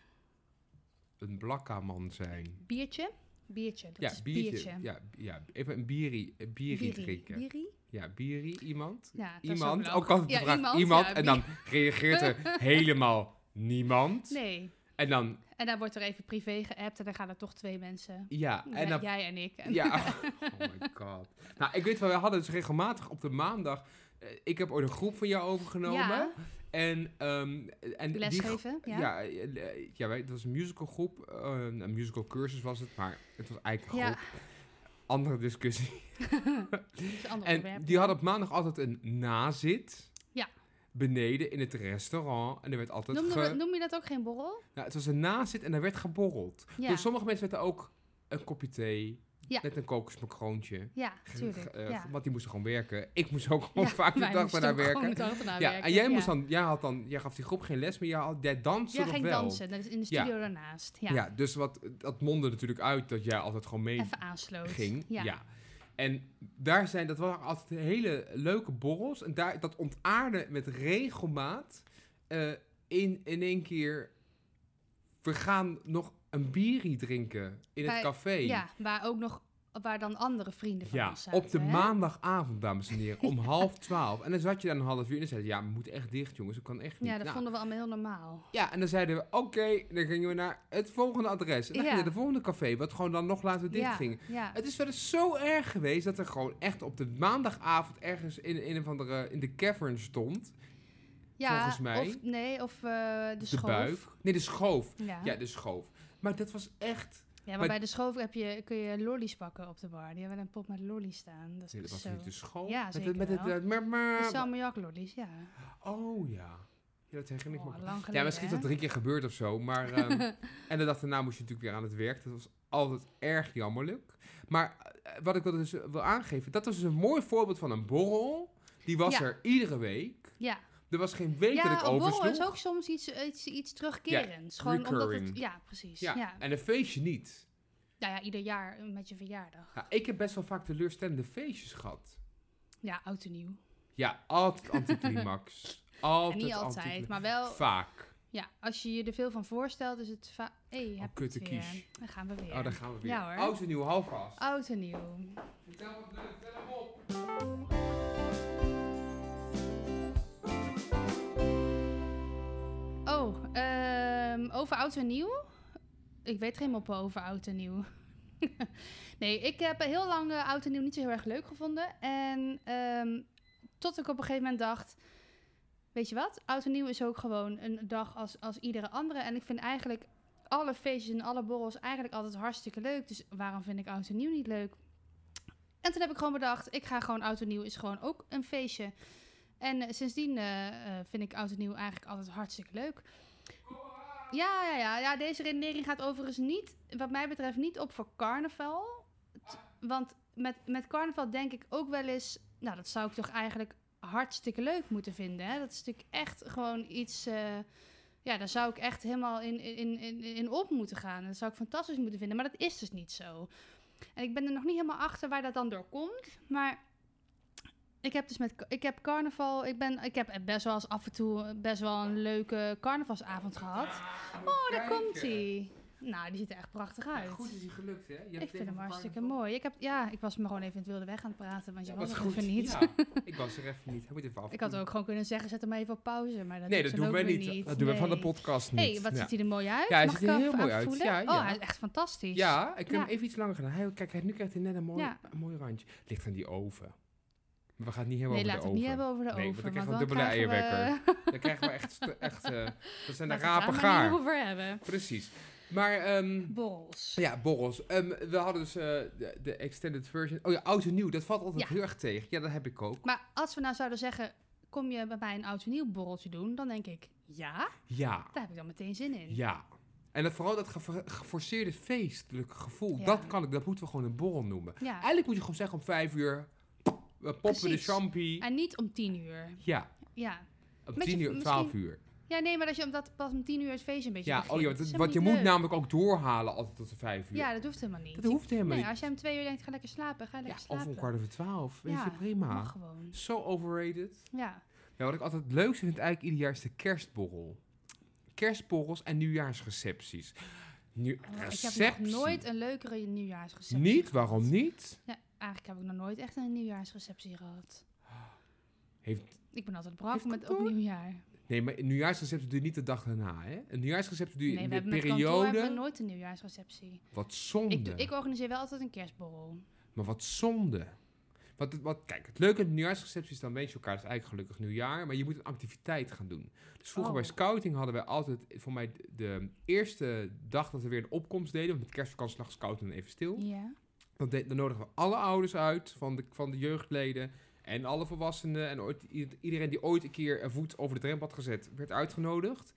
C: een blakkaman zijn.
B: Biertje? Biertje, dat
C: ja,
B: is
C: biertje.
B: biertje.
C: Ja, ja, even een bierie, een bierie, drinken.
B: Bierie?
C: Ja, bierie, iemand.
B: Ja, dat is
C: Iemand, Oh,
B: wel
C: ook altijd de
B: ja,
C: vraag, iemand.
B: ja,
C: en dan reageert er helemaal niemand.
B: bier- Nee.
C: En dan,
B: En dan wordt er even privé geappt en dan gaan er toch twee mensen.
C: ja, en
B: Ja,
C: dan
B: jij en ik. En-
C: Ja, oh my god. Nou, ik weet wel, we hadden dus regelmatig op de maandag... eh, ik heb ooit een groep van jou overgenomen.
B: Ja,
C: En, ehm en die gro-
B: lesgeven. Ja.
C: Ja, eh, ja wij, het was een musicalgroep. eh, een musical cursus was het, maar het was eigenlijk een
B: Ja.
C: groep. Andere discussie.
B: dat is een ander
C: En
B: onderwerp.
C: die hadden op maandag altijd een nazit.
B: Ja.
C: Beneden in het restaurant. En er werd altijd
B: Noemde
C: ge...
B: we- noem je dat ook geen borrel?
C: nou, het was een nazit en er werd geborreld.
B: Ja,
C: Dus sommige mensen werden ook een kopje thee.
B: Ja.
C: Met een kokosmacroontje.
B: ja tuurlijk.
C: Eh,
B: ja.
C: Want die moesten gewoon werken. Ik moest ook gewoon
B: Ja,
C: vaak de
B: wij
C: dag
B: moesten
C: daarna
B: ook gewoon
C: werken.
B: de dag daarna
C: Ja,
B: werken,
C: en jij,
B: ja.
C: Moest dan, jij, had dan, jij gaf die groep geen les, maar jij, had, jij danste
B: Ja,
C: nog
B: ging
C: wel.
B: dansen. Dat is in de
C: Ja.
B: studio daarnaast.
C: Ja. dus wat, dat mondde natuurlijk uit dat jij altijd gewoon mee
B: Even aansloot.
C: ging.
B: Ja.
C: En daar zijn, dat waren altijd hele leuke borrels. En daar, dat ontaarde met regelmaat eh, in, in één keer... We gaan nog een bierie drinken in het
B: Bij-
C: café.
B: Ja, waar ook nog waar dan andere vrienden van
C: Ja,
B: ons zaten.
C: op de
B: hè?
C: maandagavond, dames en heren, om half twaalf. En dan zat je daar een half uur en dan zeiden ze, ja, we moeten echt dicht, jongens, dat kan echt niet.
B: Ja, dat
C: Nou,
B: vonden we allemaal heel normaal.
C: ja, en dan zeiden we, oké, dan gingen we naar het volgende adres. En dan
B: Ja.
C: ging je naar de volgende café, wat gewoon dan nog later dicht
B: ja,
C: ging.
B: Ja.
C: Het is wel eens zo erg geweest dat er gewoon echt op de maandagavond ergens in, in, een of andere, eh, in de cavern stond.
B: ja,
C: volgens mij-
B: Of, nee, of eh, de,
C: De,
B: schoof.
C: buik. Nee, de schoof.
B: Ja.
C: Ja, de schoof. Maar dat was echt...
B: Ja, maar,
C: Maar-
B: bij de school heb je, kun je lollies pakken op de bar. Die hebben een pot met lollies staan. Dat is
C: Nee, dat was
B: zo.
C: niet de school.
B: Ja,
C: met
B: zeker
C: het, met het,
B: wel.
C: eh, maar,
B: De
C: maar,
B: salmiak lollies, ja.
C: oh ja. ja, dat herinner ik
B: Oh,
C: me.
B: lang
C: ook.
B: geleden,
C: Ja, misschien is
B: hè?
C: dat drie keer gebeurd of zo. Maar, ehm, en de dag daarna moest je natuurlijk weer aan het werk. Dat was altijd erg jammerlijk. Maar eh, wat ik wil, dus, eh, wil aangeven, dat was dus een mooi voorbeeld van een borrel. Die was
B: Ja.
C: er iedere week.
B: Ja,
C: Er was geen week dat
B: ja
C: ik
B: een borrel is
C: oversloeg.
B: ook soms iets, iets, iets terugkerends. Gewoon omdat het,
C: recurring.
B: ja, precies. Ja.
C: Ja, en een feestje niet.
B: Nou ja, ieder jaar eh, met je verjaardag.
C: Ja, ik heb best wel vaak teleurstellende feestjes gehad.
B: Ja, oud en nieuw.
C: Ja, altijd anticlimax. altijd
B: en niet
C: anticli-
B: altijd, maar wel...
C: Vaak.
B: Ja, als je je er veel van voorstelt, is het va- Hé, hey, heb je
C: Oh, kutte
B: het weer.
C: kies.
B: Dan gaan we weer.
C: Oh, daar gaan we weer.
B: Ja, hoor. Ah.
C: Oud en nieuw, hou vast.
B: Oud en nieuw.
C: Vertel wat leuk, vertel hem op.
B: Oh, ehm, over oud en nieuw? Ik weet geen moppen over oud en nieuw. nee, ik heb heel lang eh, oud en nieuw niet zo heel erg leuk gevonden. En ehm, tot ik op een gegeven moment dacht... Weet je wat? Oud en nieuw is ook gewoon een dag als, als iedere andere. En ik vind eigenlijk alle feestjes en alle borrels eigenlijk altijd hartstikke leuk. Dus waarom vind ik oud en nieuw niet leuk? En toen heb ik gewoon bedacht, ik ga gewoon oud en nieuw is gewoon ook een feestje. En eh, sindsdien eh, eh, vind ik oud en nieuw eigenlijk altijd hartstikke leuk. Ja, ja, ja, ja, deze redenering gaat overigens niet, wat mij betreft, niet op voor carnaval. T- want met, met carnaval denk ik ook wel eens, nou, dat zou ik toch eigenlijk hartstikke leuk moeten vinden. Hè? Dat is natuurlijk echt gewoon iets, eh, ja, daar zou ik echt helemaal in, in, in, in op moeten gaan. Dat zou ik fantastisch moeten vinden, maar dat is dus niet zo. En ik ben er nog niet helemaal achter waar dat dan door komt, maar ik heb dus met ik heb carnaval. Ik ben ik heb best wel eens af en toe eh, best wel een leuke carnavalsavond gehad.
C: Ah,
B: Oh, daar komt hij. Nou, die ziet er echt prachtig uit.
C: Goed is hij gelukt, hè? Je hebt
B: ik vind
C: even
B: hem
C: een
B: hartstikke
C: paar-
B: mooi. Ik heb ja, ik was me gewoon even in het wilde weg aan het praten, want je
C: Ja,
B: was
C: was
B: er
C: goed.
B: even niet.
C: Ja, ik was er even niet. Hij moet even af.
B: Ik had ook gewoon kunnen zeggen zet hem even op pauze, maar dat
C: nee,
B: doet
C: dat
B: ze
C: doen
B: ook
C: wij
B: weer
C: niet. Dat doen we van de
B: Nee.
C: podcast niet.
B: Hey, wat
C: ja.
B: ziet hij er mooi uit?
C: Ja, hij
B: Mag ik
C: ziet er heel
B: even
C: mooi
B: aan
C: uit.
B: voelen?
C: Ja,
B: Oh,
C: ja.
B: hij is echt fantastisch.
C: Ja, ik heb
B: Ja.
C: hem even iets langer gedaan. Hij, kijk, hij, nu krijgt hij net een mooi,
B: Ja.
C: een mooi randje. Ligt aan die oven. Maar we gaan het niet hebben
B: nee,
C: over
B: laat het
C: de oven.
B: niet hebben over de
C: Nee, want
B: oven.
C: dan krijgen we
B: want
C: een dubbele
B: krijgen we-
C: eierwekker. Dan krijgen we echt... st- echt eh, dat
B: Laten we het
C: zijn de
B: daar
C: rapen
B: maar niet
C: gaar.
B: over hebben.
C: Precies. Maar... ehm,
B: Borrels.
C: ja, borrels. Ehm, we hadden dus eh, de, de extended version. Oh ja, oud en nieuw. Dat valt altijd
B: Ja.
C: heel erg tegen. Ja, dat heb ik ook.
B: Maar als we nou zouden zeggen, kom je bij mij een oud en nieuw borreltje doen? Dan denk ik, ja,
C: Ja.
B: daar heb ik dan meteen zin in.
C: Ja. En dat, vooral dat gefor- geforceerde feestelijke gevoel,
B: Ja.
C: dat kan ik, dat moeten we gewoon een borrel noemen.
B: Ja.
C: Eigenlijk moet je gewoon zeggen om vijf uur, we poppen de
B: Precies.
C: champie.
B: En niet om tien uur.
C: ja,
B: Ja.
C: om
B: Met je-
C: tien uur, om
B: misschien-
C: twaalf uur.
B: Ja, nee, maar als je omdat pas om tien uur het feest een beetje
C: Ja,
B: begint,
C: oh ja,
B: dat is
C: want,
B: helemaal
C: want je
B: niet
C: moet
B: leuk.
C: namelijk ook doorhalen altijd tot de vijf uur.
B: Ja, dat hoeft helemaal niet.
C: dat hoeft helemaal
B: Nee,
C: niet.
B: als jij om twee uur denkt, ga lekker slapen, ga
C: Ja,
B: lekker
C: of
B: slapen.
C: om kwart over twaalf, weet
B: Ja,
C: je, prima.
B: Mag gewoon.
C: Zo overrated.
B: Ja.
C: Ja, wat ik altijd het leukste vind eigenlijk ieder jaar is de kerstborrel. Kerstborrels en nieuwjaarsrecepties. Nu,
B: Oh, ik
C: receptie.
B: heb nog nooit een leukere nieuwjaarsreceptie
C: Niet?
B: gehad.
C: Waarom niet?
B: Ja, eigenlijk heb ik nog nooit echt een nieuwjaarsreceptie gehad.
C: Heeft-
B: Ik ben altijd brak
C: Heeft
B: met
C: kantoor?
B: opnieuw jaar.
C: Nee, maar een nieuwjaarsrecept doe je niet de dag daarna, hè? Een nieuwjaarsrecept doe je
B: Nee,
C: in
B: we
C: de
B: hebben met kantoor
C: periode.
B: hebben we nooit een nieuwjaarsreceptie.
C: Wat zonde.
B: Ik, doe, ik organiseer wel altijd een kerstborrel.
C: Maar wat zonde. Wat, wat, kijk, het leuke aan de nieuwjaarsreceptie is dan weet je elkaar, het is eigenlijk gelukkig nieuwjaar, maar je moet een activiteit gaan doen. Dus vroeger
B: Oh.
C: bij scouting hadden wij altijd, voor mij, de, de eerste dag dat we weer een opkomst deden, want met kerstvakantie lag scouting dan even stil.
B: Ja.
C: Dan, de- dan nodigen we alle ouders uit van de, van de jeugdleden en alle volwassenen. En ooit, i- iedereen die ooit een keer een voet over de drempel had gezet, werd uitgenodigd.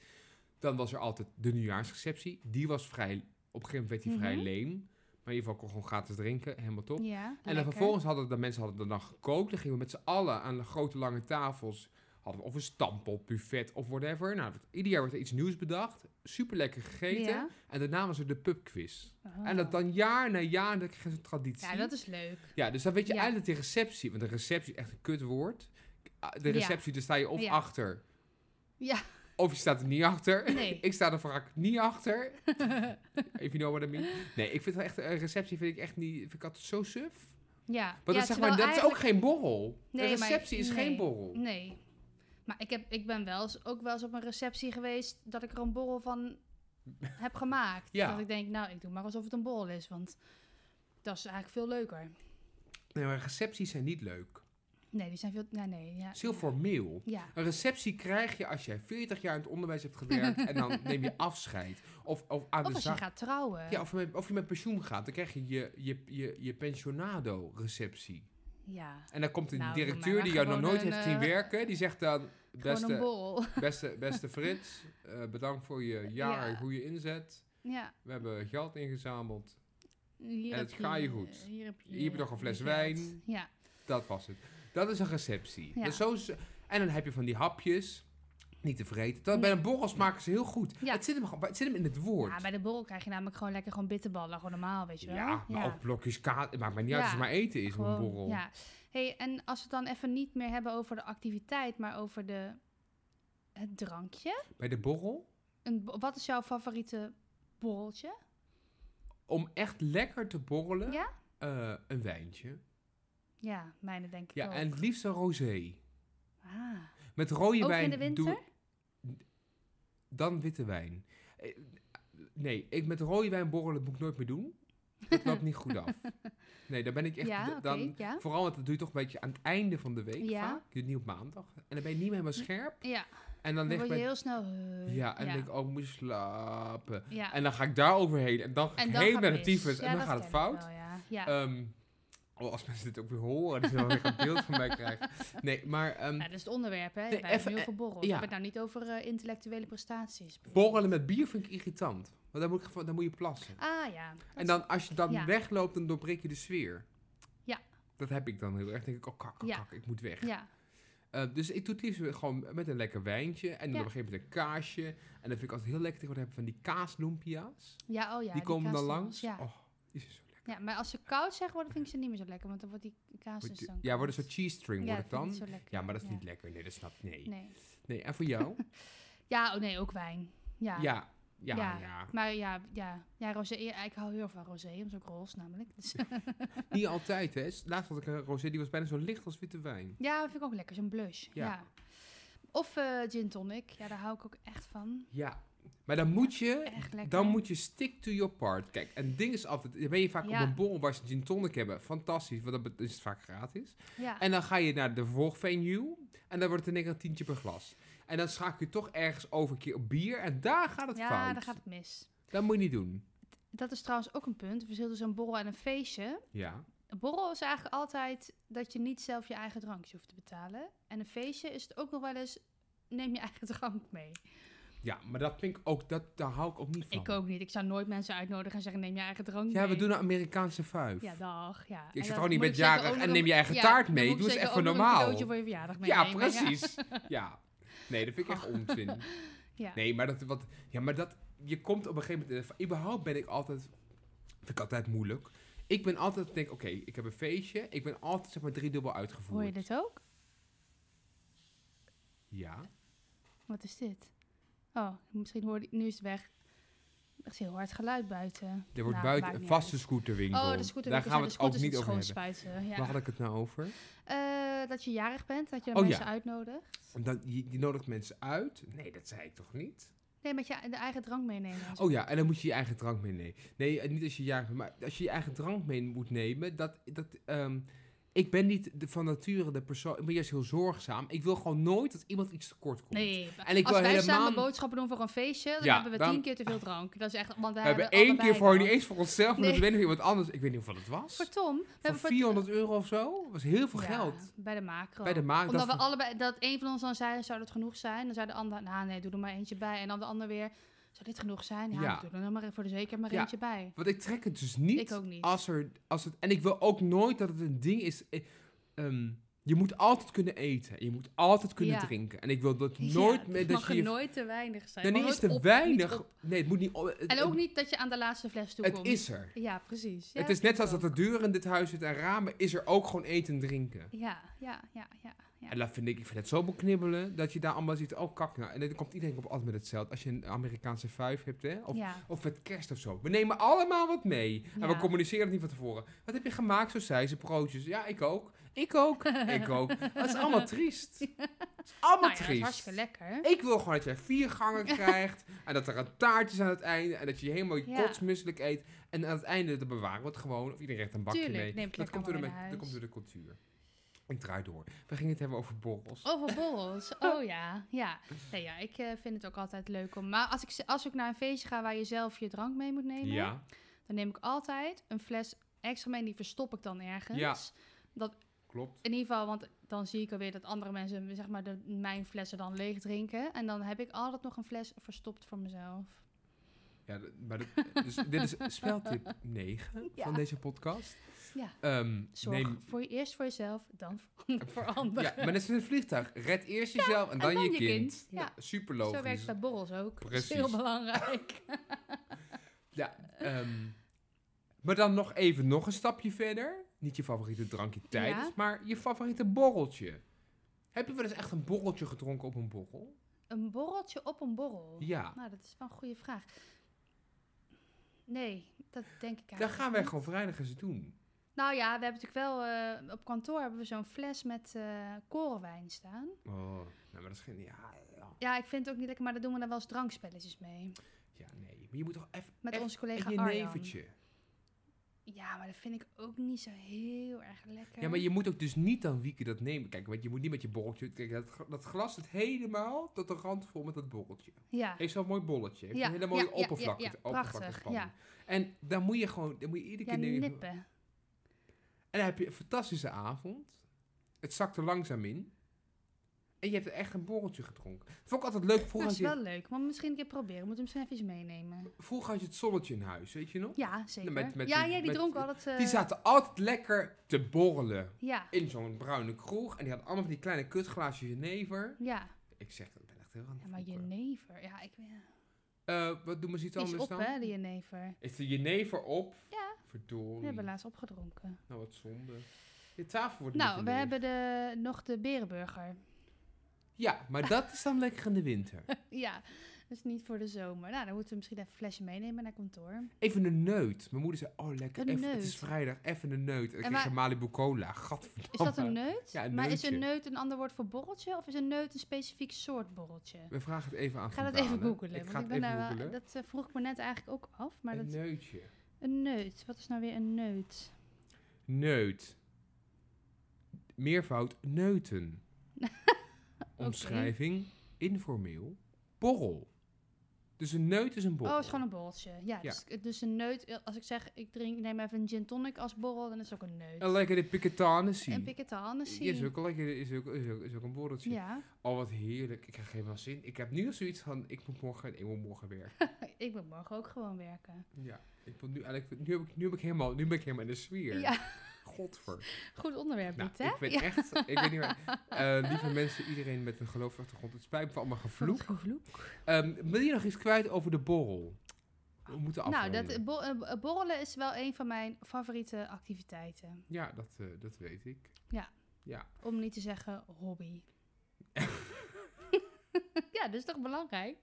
C: Dan was er altijd de nieuwjaarsreceptie. Die was vrij, op een gegeven moment werd die
B: Mhm.
C: vrij leem. Maar in ieder geval kon gewoon gratis drinken, helemaal top.
B: ja
C: En dan
B: lekker.
C: vervolgens hadden de mensen hadden dan gekookt. Dan gingen we met z'n allen aan de grote lange tafels. Hadden we of een stampot, buffet of whatever. Nou, ieder jaar werd er iets nieuws bedacht. Super lekker gegeten.
B: Ja.
C: En daarna was er de pubquiz.
B: Oh.
C: En dat dan jaar na jaar, dat is een traditie.
B: Ja, dat is leuk.
C: Ja, dus dan weet je
B: Ja.
C: eigenlijk de receptie. Want de receptie is echt een kutwoord. Ah, De
B: Ja.
C: receptie, daar sta je of
B: Ja.
C: achter.
B: Ja.
C: Of je staat er niet achter.
B: Nee.
C: ik sta er vaak niet achter. If you know what I mean. Nee, ik vind wel echt, een receptie vind ik echt niet, vind ik altijd zo suf.
B: Ja.
C: Want
B: ja,
C: dat, zeg
B: terwijl
C: maar, dat is
B: eigenlijk-
C: ook geen borrel.
B: Nee,
C: een
B: maar-
C: receptie is
B: nee.
C: geen borrel.
B: Nee. Maar ik, heb, ik ben wel eens, ook wel eens op een receptie geweest dat ik er een borrel van heb gemaakt.
C: Ja.
B: Dat ik denk, nou, ik doe maar alsof het een borrel is, want dat is eigenlijk veel leuker.
C: Nee, maar recepties zijn niet leuk.
B: Nee, die zijn veel... Ja, nee, ja.
C: Het is heel formeel.
B: Ja.
C: Een receptie krijg je als jij 40 jaar in het onderwijs hebt gewerkt en dan neem je afscheid. Of, of aan
B: Of
C: de
B: als je
C: zaak.
B: gaat trouwen.
C: Ah, dus Ja, of, je met, of je met pensioen gaat, dan krijg je je, je, je, je pensionado-receptie.
B: Ja.
C: En dan komt een
B: Nou, doe
C: directeur
B: maar
C: die jou nog
B: gewoon
C: nooit
B: een,
C: heeft zien
B: eh,
C: werken, die zegt dan:
B: Gewoon een
C: Beste,
B: bol.
C: beste, beste Frits, eh, bedankt voor je jaar,
B: Ja.
C: hoe je inzet.
B: Ja.
C: We hebben geld ingezameld.
B: Hier
C: En
B: heb eh,
C: het ga je goed.
B: Hier heb je,
C: Hier heb je nog een fles
B: geld.
C: wijn.
B: Ja.
C: Dat was het. Dat is een receptie.
B: Ja.
C: Dat is zo z- en dan heb je van die hapjes. Niet te vreten. Dat, Bij een borrels maken ze heel goed.
B: Ja.
C: Het, zit hem, gewoon- het zit hem in het woord.
B: ja, bij de borrel krijg je namelijk gewoon lekker gewoon bitterballen. Gewoon normaal, weet je wel.
C: Ja, maar ook blokjes kaas. Het maakt mij niet uit
B: Ja.
C: als het maar eten is op een
B: Gewoon,
C: borrel.
B: Ja. Hey, en als we het dan even niet meer hebben over de activiteit, maar over de, het drankje.
C: Bij de borrel,
B: Een, bo- wat is jouw favoriete borreltje?
C: om echt lekker te borrelen,
B: Ja?
C: eh, een wijntje.
B: Ja, mijne denk ik
C: Ja,
B: ook.
C: en het liefst een rosé.
B: Ah.
C: Met rode
B: Oh. Ook
C: wijn
B: in de winter?
C: doe- dan witte wijn. Eh, Nee, ik met rode wijn borrelen moet ik nooit meer doen. Dat loopt niet goed af. Nee, daar ben ik echt...
B: ja,
C: d-
B: oké.
C: dan,
B: ja.
C: Vooral, want dat doe je toch een beetje aan het einde van de week
B: Ja.
C: vaak. Je doet het niet op maandag. En dan ben je niet meer helemaal scherp.
B: ja,
C: En
B: dan
C: dan lig
B: word
C: ik
B: je
C: bij...
B: heel snel... eh,
C: Ja,
B: ja.
C: en dan denk ik, oh, ik moet slapen.
B: ja.
C: En dan ga ik daar overheen. En dan ga
B: En
C: ik
B: dan
C: helemaal
B: gaat
C: naar de
B: mis.
C: tyfus.
B: Ja,
C: en dan
B: dat
C: gaat het
B: ken ik
C: fout.
B: wel, ja. Ja.
C: Ehm, oh, als mensen dit ook weer horen, dan zullen ze weer een beeld van mij krijgen. Nee, maar ehm,
B: Ja, dat is het onderwerp, hè?
C: Nee,
B: Wij hebben
C: even,
B: heel
C: eh,
B: veel borrels.
C: ja.
B: We hebben het nou niet over eh, intellectuele prestaties.
C: borrelen met bier vind ik irritant. Want dan moet, ik, gewoon- dan moet je plassen.
B: Ah ja. dat
C: en dan, als je dan
B: ja.
C: wegloopt, dan doorbreek je de sfeer.
B: Ja.
C: Dat heb ik dan heel erg. Dan denk ik, oh kak, kak,
B: Ja.
C: kak, ik moet weg.
B: is- Ja,
C: Eh, dus ik doe het liefst weer gewoon met een lekker wijntje. En dan
B: Ja.
C: op een gegeven moment een kaasje. En dan vind ik altijd heel lekker tegenwoordig hebben van die kaasloempia's.
B: ja oh ja.
C: die komen dan
B: kaasstengels,
C: langs.
B: Ja.
C: Oh, die zijn zo lekker.
B: ja, maar als ze koud zijn geworden, vind ik ze niet meer zo lekker. Want dan wordt die kaas dus
C: Wordt die-
B: dan
C: Ja, wordt een
B: koud.
C: soort cheese string
B: Ja,
C: wordt het
B: vind ik
C: dan.
B: niet zo lekker.
C: Ja, maar dat is niet lekker. Nee, dat snap ik. Nee. nee.
B: Nee.
C: en voor jou?
B: Ja, oh nee, ook wijn. Ja.
C: ja. Ja, ja,
B: Ja. Maar ja, ja, ja, rosé. ja, ik hou heel erg van rosé, omdat ook roze namelijk. Dus,
C: Niet altijd, hè. Laatst had ik een rosé, die was bijna zo licht als witte wijn.
B: ja, dat vind ik ook lekker, zo'n blush. Ja.
C: Ja.
B: Of eh, gin tonic, ja, daar hou ik ook echt van.
C: Ja. Maar dan moet je...
B: Echt lekker.
C: Dan moet je stick to your part. Kijk, en het ding is altijd... Dan ben je vaak
B: Ja.
C: op een borrel waar ze gin tonic hebben. Fantastisch, want dan is het vaak gratis.
B: ja.
C: En dan ga je naar de volgvenue. En dan wordt het in één keer een tientje per glas. En dan schakel je toch ergens over een keer op bier. En daar gaat het
B: ja,
C: fout.
B: daar gaat het mis.
C: Dat moet je niet doen.
B: Dat is trouwens ook een punt. Het verschil tussen een borrel en een feestje.
C: Ja.
B: Een borrel is eigenlijk altijd dat je niet zelf je eigen drankje hoeft te betalen. En een feestje is het ook nog wel eens, neem je eigen drank mee.
C: Ja, maar dat vind ik ook... Dat, daar hou ik ook niet van.
B: Ik ook niet. Ik zou nooit mensen uitnodigen en zeggen, neem je eigen drank
C: Ja,
B: mee.
C: we doen een Amerikaanse vuif.
B: Ja, dag. Ja.
C: Ik
B: En
C: zit
B: dan
C: gewoon niet
B: moet
C: met
B: ik zeker
C: jarig
B: ook
C: en
B: nog
C: neem je
B: een-
C: eigen
B: ja,
C: taart
B: dan
C: mee.
B: moet ik
C: Doe eens
B: zeker
C: even
B: ook nog
C: normaal.
B: Een cadeautje voor je verjaardag mee.
C: ja,
B: nemen,
C: precies. Ja. Nee, dat vind ik echt onzin.
B: Ja.
C: Nee, maar dat... Wat, ja, maar dat... Je komt op een gegeven moment... eh, Überhaupt ben ik altijd... Vind ik altijd moeilijk. Ik ben altijd... Denk, oké, ik heb een feestje. Ik ben altijd zeg maar driedubbel uitgevoerd.
B: Hoor je dit ook?
C: Ja.
B: Wat is dit? Oh, misschien hoor je... Nu is het weg. Er is heel hard geluid buiten.
C: Er wordt
B: Nou,
C: buiten
B: maakt
C: een
B: niet
C: vaste
B: uit.
C: scooterwinkel.
B: Oh, de scooter.
C: Daar gaan we
B: de
C: het ook
B: scooters
C: niet
B: het
C: over hebben.
B: schoonspuiten. Ja.
C: Waar had ik het nou over?
B: Eh, dat je jarig bent, dat je dan
C: Oh,
B: mensen
C: ja.
B: uitnodigt.
C: Dan, je, je nodigt mensen uit. Nee, dat zei ik toch niet?
B: Nee, met je de eigen drank meenemen. en zo.
C: Oh ja, en dan moet je je eigen drank meenemen. Nee, eh, niet als je jarig bent, maar als je je eigen drank mee moet nemen. Dat, dat, ehm, ik ben niet de, van nature de persoon. Ik ben juist heel zorgzaam. Ik wil gewoon nooit dat iemand iets tekort komt.
B: Nee,
C: En ik
B: als
C: wil
B: wij
C: helemaal-
B: samen boodschappen doen voor een feestje, dan
C: Ja,
B: hebben we
C: dan-
B: tien keer te veel drank. Dat is echt, want wij
C: We hebben één keer voor niet
B: één.
C: eens voor onszelf, maar
B: Nee.
C: dat weet nog iemand anders. Ik weet niet hoeveel het was.
B: Voor Tom. We
C: Voor
B: hebben voor
C: 400 euro of zo? Dat was heel veel
B: Ja,
C: geld.
B: Bij de macro.
C: Bij de maak.
B: Omdat
C: dat
B: we
C: ver-
B: allebei, dat een van ons dan zei, zou dat genoeg zijn? Dan zei de ander, nou nee, doe er maar eentje bij. En dan de ander weer, zou dit genoeg zijn? Ja,
C: Ja.
B: doe er dan maar voor de zekerheid maar
C: Ja.
B: eentje bij.
C: Want ik trek het dus niet.
B: Ik ook niet.
C: Als er, als het, en ik wil ook nooit dat het een ding is. eh, ehm, je moet altijd kunnen eten. Je moet altijd kunnen
B: Ja.
C: drinken. En ik wil dat nooit
B: Ja,
C: meer
B: het
C: dat
B: mag
C: je.
B: er
C: je-
B: nooit te weinig zijn. Het
C: Nee, nee,
B: mag
C: is
B: nooit
C: te
B: op- niet
C: weinig.
B: op.
C: Nee, het moet niet. op- het-
B: En ook
C: het-
B: niet dat je aan de laatste fles toe
C: Het
B: komt.
C: is er.
B: Ja, precies. Ja,
C: het is net
B: vind
C: als
B: ik
C: dat
B: ook.
C: de deuren in dit huis zitten en ramen. Is er ook gewoon eten en drinken.
B: Ja, ja, ja, ja. ja.
C: En dat vind ik, ik vind het zo beknibbelen dat je daar allemaal ziet. Oh, kak nou. En dan komt iedereen op altijd met hetzelfde. Als je een Amerikaanse vijf hebt, hè? Of
B: ja. Nou
C: Of met kerst of zo. We nemen allemaal wat mee. En we
B: Ja.
C: communiceren het niet van tevoren. Wat heb je gemaakt? Zo zei ze, broodjes. Ja, ik ook. Ik ook. ik ook. Dat is allemaal triest. Het is
B: Nou ja,
C: allemaal
B: dat is
C: triest.
B: hartstikke lekker.
C: ik wil gewoon dat jij vier gangen krijgt. en dat er een taartje is aan het einde. En dat je helemaal je
B: Ja.
C: kotsmisselijk eet. En aan het einde, dat bewaren we het gewoon. Of iedereen krijgt een bakje
B: Tuurlijk,
C: mee.
B: neem ik
C: dat
B: lekker
C: komt door, de,
B: mee naar
C: dat
B: huis.
C: komt door de cultuur. Ik draai door. We gingen het hebben over borrels.
B: Over borrels. Oh ja, ja. Nee, ja ik eh, vind het ook altijd leuk om. Maar als ik, z- als ik naar een feestje ga waar je zelf je drank mee moet nemen,
C: ja.
B: dan neem ik altijd een fles extra mee. en Die verstop ik dan ergens.
C: Ja. Klopt.
B: In ieder geval, want dan zie ik alweer dat andere mensen zeg maar, de, mijn flessen dan leeg drinken. En dan heb ik altijd nog een fles verstopt voor mezelf.
C: Ja, d- maar dat- dus dit is speltip 9
B: Ja.
C: van deze podcast.
B: Ja.
C: Ehm,
B: Zorg
C: neem-
B: voor je, eerst voor jezelf, dan voor, voor anderen.
C: ja, maar dat is een vliegtuig. Red eerst jezelf en dan, je kind.
B: Nou, Ja.
C: Super
B: Zo werkt het
C: logisch.
B: bij borrels ook. Dat is
C: Precies.
B: heel belangrijk.
C: Ja, ehm, maar dan nog even nog een stapje verder. Niet je favoriete drankje tijdens,
B: Ja.
C: maar je favoriete borreltje. Heb je wel eens echt een borreltje gedronken op een borrel?
B: een borreltje op een borrel.
C: Ja.
B: Nou, dat is wel een goede vraag. Nee, dat denk ik eigenlijk.
C: Dan gaan wij
B: niet.
C: gewoon vrijdag eens doen.
B: Nou ja, we hebben natuurlijk wel eh, op kantoor hebben we zo'n fles met eh korenwijn staan.
C: Oh, nou, maar dat is geen... Ja, ja.
B: Ja, ik vind het ook niet lekker, maar daar doen we dan wel eens drankspelletjes mee.
C: Ja, nee. Maar je moet toch even...
B: Met
C: echt-
B: onze
C: En
B: collega
C: je
B: Arjan.
C: nevertje.
B: Ja, maar dat vind ik ook niet zo heel erg lekker.
C: Ja, maar je moet ook dus niet dan wieken dat nemen. Kijk, want je moet niet met je borreltje... Kijk, dat, gl- dat glas zit helemaal tot de rand vol met dat borreltje.
B: Ja,
C: Heeft zo'n mooi bolletje. Heeft
B: Ja,
C: een hele
B: ja,
C: mooie
B: ja, ja,
C: oppervlakte.
B: ja, prachtig,
C: oppervlaktespanning. En dan moet je gewoon... Dan moet je iedere
B: ja
C: keer... nemen-
B: nippen.
C: En dan heb je een fantastische avond. Het zakt er langzaam in. En je hebt er echt een borreltje gedronken. Dat vond ik altijd leuk. Vroeger,
B: Dat
C: had
B: is
C: je,
B: wel leuk, maar misschien een keer proberen. Moet hem misschien even iets meenemen.
C: vroeger had je het zonnetje in huis, weet je nog?
B: Ja, zeker.
C: met- met
B: ja,
C: die-
B: ja, die
C: met-
B: dronk altijd... eh,
C: Die zaten altijd lekker te borrelen.
B: Ja,
C: In zo'n bruine kroeg. En die hadden allemaal van die kleine kutglaasjes jenever.
B: ja.
C: Ik zeg, dat ik ben echt heel aan
B: Ja,
C: het
B: maar
C: vloeken.
B: jenever. Ja, ik weet
C: Eh, Wat doen we iets
B: Iets
C: anders
B: op,
C: dan?
B: hè, de jenever.
C: Is de jenever op?
B: Ja.
C: Verdorie.
B: We hebben laatst opgedronken.
C: Nou, wat zonde. De tafel wordt niet
B: Nou, we
C: geleegd.
B: hebben de, nog de berenburger.
C: Ja, maar dat is dan lekker in de winter.
B: ja, dus niet voor de zomer. Nou, dan moeten we misschien even een flesje meenemen naar kantoor.
C: Even een neut. Mijn moeder zei, oh lekker,
B: Een
C: even, het
B: neut.
C: is vrijdag, even een neut. En ik
B: En
C: kreeg
B: waar-
C: een Malibu cola, gadverdamme.
B: Is dat een neut?
C: Ja, een
B: maar is een
C: neutje.
B: neut een ander woord voor borreltje? Of is een neut een specifiek soort borreltje?
C: We vragen het even aan
B: Ga dat
C: Van
B: even
C: Dalen.
B: googlen.
C: Ik
B: want ik
C: ga het
B: ben
C: even
B: daar wel-
C: googelen.
B: dat eh, vroeg ik me net eigenlijk ook af. Maar
C: een
B: dat,
C: neutje.
B: een neut. Wat is nou weer een neut?
C: Neut. Meervoud neuten. Omschrijving, informeel, borrel. Dus een neut is een borrel.
B: Oh, is gewoon een borreltje. Ja, Dus, dus een neut. Als ik zeg, ik drink, neem even een gin tonic als borrel, dan is het ook een neut.
C: Een lekkere piketanessie.
B: En piketanessie.
C: Is ook, een lekkere- is, ook, is, ook, is ook een borreltje.
B: Ja,
C: Oh, wat heerlijk. Ik krijg helemaal zin. Ik heb nu al zoiets van, ik moet morgen, ik moet morgen weer.
B: ik wil morgen ook gewoon werken.
C: Ja, ik wil nu eigenlijk. Nu, heb ik, nu, heb ik helemaal, nu ben ik helemaal in de sfeer.
B: Ja,
C: Godver.
B: goed onderwerp
C: Nou,
B: dit, hè?
C: ik ben echt. Ik weet niet waar. Eh, lieve mensen, iedereen met een geloofsachtergrond, het spijt me voor allemaal gevloek. Ehm, wil je nog iets kwijt over de borrel? We moeten
B: Nou,
C: afronden.
B: dat, bo- eh, eh, borrelen is wel een van mijn favoriete activiteiten.
C: Ja, dat, eh, dat weet ik.
B: Om niet te zeggen hobby. ja, dat is toch belangrijk?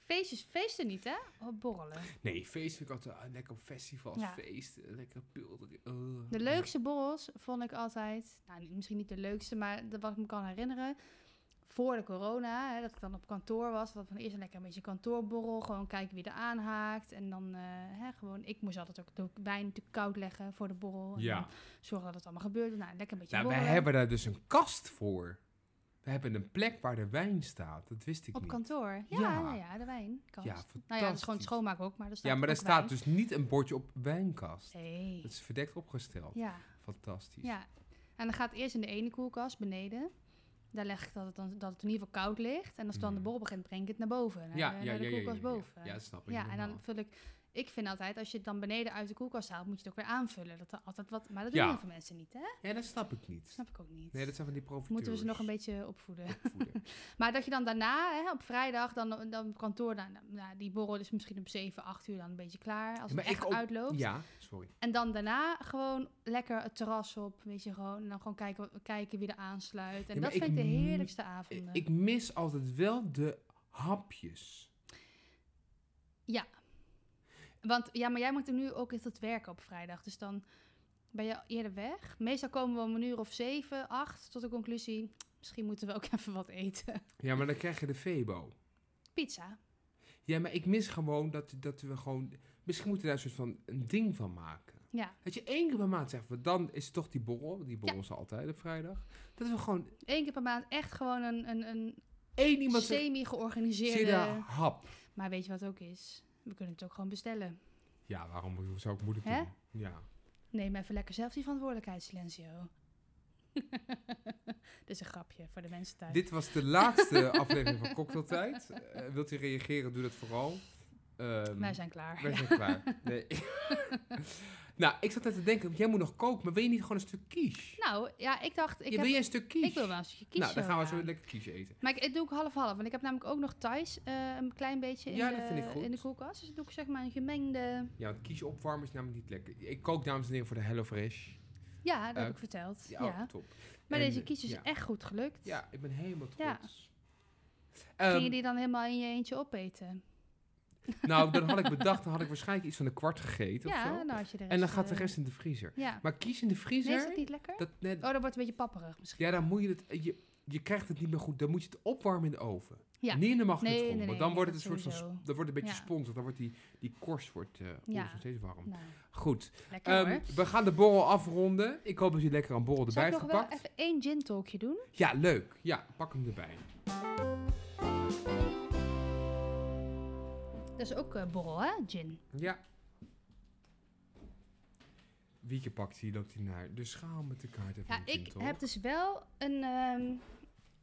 B: Feestjes, feesten niet, hè? Oh, Borrelen.
C: Nee, feest vind ik altijd ah, lekker op festivals.
B: Ja.
C: Feest, eh, lekker pulder.
B: De leukste borrels vond ik altijd, nou niet- misschien niet de leukste, maar de- wat ik me kan herinneren, voor de corona, hè, dat ik dan op kantoor was, dat van eerst lekker een beetje kantoorborrel, gewoon kijken wie er aanhaakt en dan eh, hè, gewoon, ik moest altijd ook de wijn natuurlijk koud leggen voor de borrel en
C: Ja.
B: dan zorgen dat het allemaal gebeurde, nou lekker een beetje
C: Nou, wij
B: borrelen.
C: hebben daar dus een kast voor. We hebben een plek waar de wijn staat. Dat wist ik
B: op
C: niet.
B: kantoor, ja,
C: Ja.
B: ja, ja, de wijn,
C: Ja,
B: nou ja, dat is gewoon
C: fantastisch.
B: het schoonmaak ook, maar er staat
C: ja, maar
B: ook
C: daar staat
B: wijn.
C: dus niet een bordje op wijnkast.
B: Nee,
C: Het is verdekt opgesteld.
B: ja.
C: Fantastisch.
B: Ja, en dan gaat het eerst in de ene koelkast beneden. Daar leg ik dat het, dan, dat het in ieder geval koud ligt. En als het dan de
C: Mhm.
B: borrel begint, breng ik het naar boven. Naar de, naar de koelkast boven.
C: Ja,
B: Ja,
C: dat snap ik.
B: en dan
C: helemaal.
B: vul ik... Ik vind altijd, als je het dan beneden uit de koelkast haalt, moet je het ook weer aanvullen. Dat er altijd wat, maar dat doen
C: Ja.
B: heel veel mensen niet, hè?
C: Ja, dat snap ik niet.
B: Snap ik ook niet.
C: Nee, dat zijn van die profiteurs.
B: Moeten we ze nog een beetje opvoeden.
C: beetje...
B: Maar dat je dan daarna, hè, op vrijdag, dan, dan op kantoor... Dan, nou, die borrel is misschien om 7, 8 uur dan een beetje klaar. Als
C: Ja, maar
B: het
C: ik
B: echt
C: ook-
B: uitloopt.
C: ja, sorry.
B: En dan daarna gewoon lekker het terras op, weet je gewoon. En dan gewoon kijken, kijken wie er aansluit. En
C: Ja, maar
B: dat
C: ik
B: vind ik de
C: m-
B: heerlijkste
C: Ik,
B: avonden.
C: ik mis altijd wel de hapjes.
B: Want ja, maar jij moet er nu ook in het werken op vrijdag. Dus dan ben je eerder weg. Meestal komen we om een uur of zeven, acht tot de conclusie... Misschien moeten we ook even wat eten.
C: Ja, maar dan krijg je de Febo.
B: Pizza.
C: Ja, maar ik mis gewoon dat, dat we gewoon... Misschien moeten we daar een soort van een ding van maken.
B: Ja,
C: Dat je één keer per maand zegt, want dan is het toch die borrel. want Die borrel is altijd op vrijdag. Dat we gewoon
B: één keer per maand echt gewoon een, een, een
C: één iemand zegt,
B: semi-georganiseerde...
C: zit daar hap.
B: Maar weet je wat ook is? We kunnen het ook gewoon bestellen.
C: Ja, waarom zou ik moeilijk
B: Hè?
C: doen? Ja.
B: Neem even lekker zelf die verantwoordelijkheid, Silencio. Dit is een grapje voor de mensen thuis.
C: Dit was de laatste aflevering van Cocktailtijd. Eh, wilt u reageren, doe dat vooral. Ehm,
B: Wij zijn klaar.
C: wij zijn klaar. Nee. nou, ik zat net te denken, jij moet nog koken, maar wil je niet gewoon een stuk quiche?
B: Nou, ja, ik dacht... Ik,
C: je,
B: heb,
C: wil je een stuk quiche?
B: ik wil wel een stukje kiezen.
C: Nou, dan gaan we
B: ja.
C: zo lekker quiche eten.
B: Maar ik, ik doe ook half-half, want ik heb namelijk ook nog Thais eh, een klein beetje in,
C: Ja,
B: de,
C: dat vind ik goed.
B: in de koelkast. Dus dan doe ik zeg maar een gemengde...
C: Ja, want quiche opwarmen is namelijk niet lekker. Ik kook, dames en heren, voor de HelloFresh.
B: Ja, dat
C: Eh,
B: heb ik verteld.
C: Ja,
B: Ja,
C: oh, top.
B: Maar
C: En,
B: deze kies is
C: ja.
B: echt goed gelukt.
C: Ja, ik ben helemaal
B: Ja.
C: trots. Ehm,
B: Ging je die dan helemaal in je eentje opeten?
C: nou, dan had ik bedacht, dan had ik waarschijnlijk iets van een kwart gegeten of
B: Ja,
C: zo.
B: dan had je de rest.
C: en dan gaat de
B: eh,
C: rest in de vriezer.
B: Ja.
C: Maar kies in de
B: Nee, is
C: vriezer,
B: dat niet lekker?
C: dat net,
B: Oh, dat wordt een beetje papperig misschien.
C: ja, dan moet je het, je, je krijgt het niet meer goed. Dan moet je het opwarmen in de oven.
B: Ja.
C: Niet in de magnetron,
B: Nee, nee, nee,
C: want dan
B: nee,
C: wordt het
B: dat
C: een soort van,
B: sowieso.
C: sp- dan wordt het een beetje
B: Ja.
C: sponsig. Dan wordt die, die korst wordt, eh oeh,
B: Ja.
C: is nog steeds warm.
B: Nou,
C: Goed,
B: lekker
C: ehm,
B: hoor.
C: we gaan de borrel afronden. Ik hoop dat jullie lekker aan borrel
B: Zou
C: erbij
B: ik
C: hebt
B: nog wel
C: gepakt.
B: even één gin talkje doen?
C: Ja, leuk. Ja, pak hem erbij.
B: Dat is ook eh, borrel, hè? Gin.
C: Ja. Wieke pakt die, loopt hij naar de schaal met de kaart. en van
B: Ja,
C: de
B: ik
C: gin, toch?
B: heb dus wel een... ehm,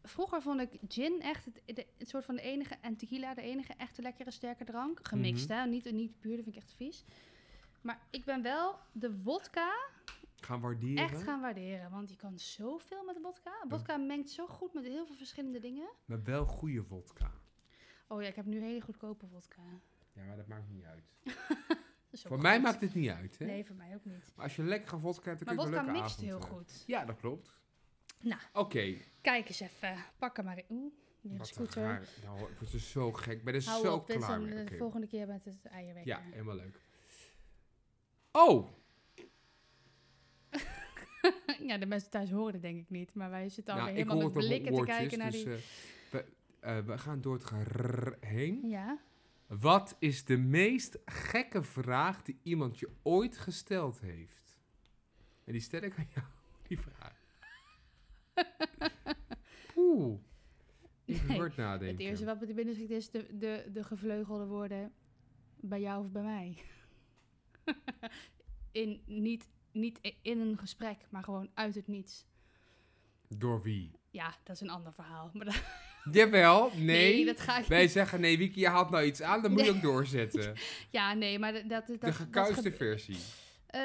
B: vroeger vond ik gin echt het, de- het soort van de enige... En tequila de enige echte lekkere sterke drank. Gemixt,
C: Mhm.
B: hè? Niet, niet puur, dat vind ik echt vies. Maar ik ben wel de wodka
C: Gaan waarderen.
B: echt gaan waarderen. Want je kan zoveel met vodka. Vodka mengt zo goed met heel veel verschillende dingen.
C: Maar wel goede vodka.
B: Oh ja, ik heb nu hele goedkope vodka.
C: Ja, maar dat maakt niet uit.
B: Dat is ook
C: Voor mij
B: goed.
C: maakt het niet uit, hè?
B: Nee, voor mij ook niet.
C: Maar als je lekkere vodka hebt, dan
B: Maar
C: kun je wel
B: vodka
C: lekker
B: mixt
C: avond eh.
B: heel
C: hebben.
B: goed.
C: Ja, dat klopt.
B: Nou.
C: Oké.
B: Kijk eens even. Pak hem maar in. Oeh, weer een
C: Wat een
B: scooter.
C: raar. Nou, hoor, ik word er zo gek. Ik ben er
B: Hou
C: zo
B: op, dit is
C: klaar
B: een-
C: mee.
B: de
C: Oké.
B: volgende keer met het eierwekker.
C: Ja, helemaal leuk. Oh!
B: ja, de mensen thuis horen het denk ik niet. Maar wij zitten alweer
C: nou, ik
B: helemaal
C: hoor
B: met
C: het op mijn
B: blikken te kijken
C: oortjes.
B: naar
C: dus,
B: die...
C: eh, we, eh, we gaan door het gerrrr heen.
B: ja,
C: Wat is de meest gekke vraag die iemand je ooit gesteld heeft? En die stel ik aan jou, die vraag. Oeh. Even
B: Nee,
C: hard nadenken.
B: het eerste wat me te binnen schiet is de, de, de gevleugelde woorden bij jou of bij mij. in, niet, niet i- in een gesprek, maar gewoon uit het niets.
C: Door wie?
B: Ja, dat is een ander verhaal. Maar dat-
C: Jawel, nee.
B: dat ga ik
C: Wij
B: niet.
C: zeggen, nee, Wiki, je haalt nou iets aan, dan moet je
B: Nee.
C: ook doorzetten.
B: Ja, nee, maar dat... dat dat-
C: de
B: dat
C: gekuiste
B: gebe-
C: versie.
B: Eh,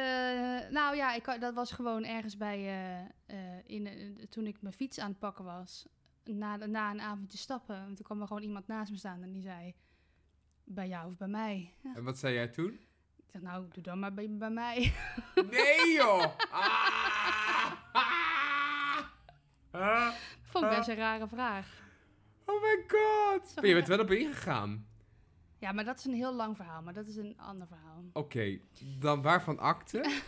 B: nou ja, ik, kan- dat was gewoon ergens bij. eh, eh, in, eh, toen ik mijn fiets aan het pakken was. Na, de- na een avondje stappen. En Toen kwam er gewoon iemand naast me staan en die zei. Bij jou of bij mij?
C: En wat zei jij toen?
B: Ik dacht, nou, doe dan maar bij, bij mij.
C: Nee, joh! Ah! Ah! Ah!
B: Vond ik best een rare vraag.
C: Oh my god!
B: Zo
C: Maar je bent
B: gek.
C: wel op ingegaan.
B: Ja, maar dat is een heel lang verhaal, maar dat is een ander verhaal.
C: Oké, dan waarvan akte?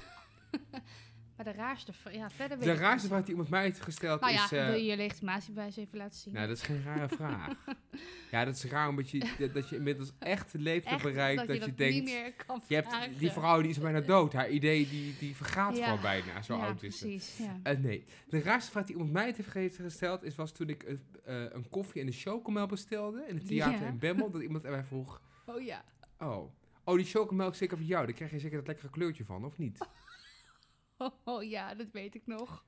B: Maar de raarste. v- Ja, verder weet
C: De
B: ik
C: raarste
B: niet.
C: vraag die iemand mij heeft gesteld
B: Nou ja,
C: is... eh,
B: wil je je legitimatiebewijs even laten zien?
C: Nou, dat is geen rare vraag. Ja, dat is raar omdat je, dat- dat je inmiddels echt de leeftijd
B: Echt,
C: bereikt dat, je,
B: dat
C: denkt...
B: niet meer kan
C: Je hebt,
B: vragen.
C: die vrouw die is bijna dood. Haar idee die, die vergaat
B: Ja.
C: gewoon bijna. Zo
B: ja,
C: oud is ze.
B: precies. Ja.
C: Eh, nee, de raarste vraag die iemand mij heeft ge- heeft gesteld is, was toen ik eh, eh, een koffie en een chocomel bestelde in het theater
B: Ja.
C: in Bemmel. Dat iemand aan mij vroeg,
B: Oh ja.
C: oh, oh die chocomel is zeker van jou. Daar krijg je zeker dat lekkere kleurtje van, of niet?
B: oh ja, dat weet ik nog.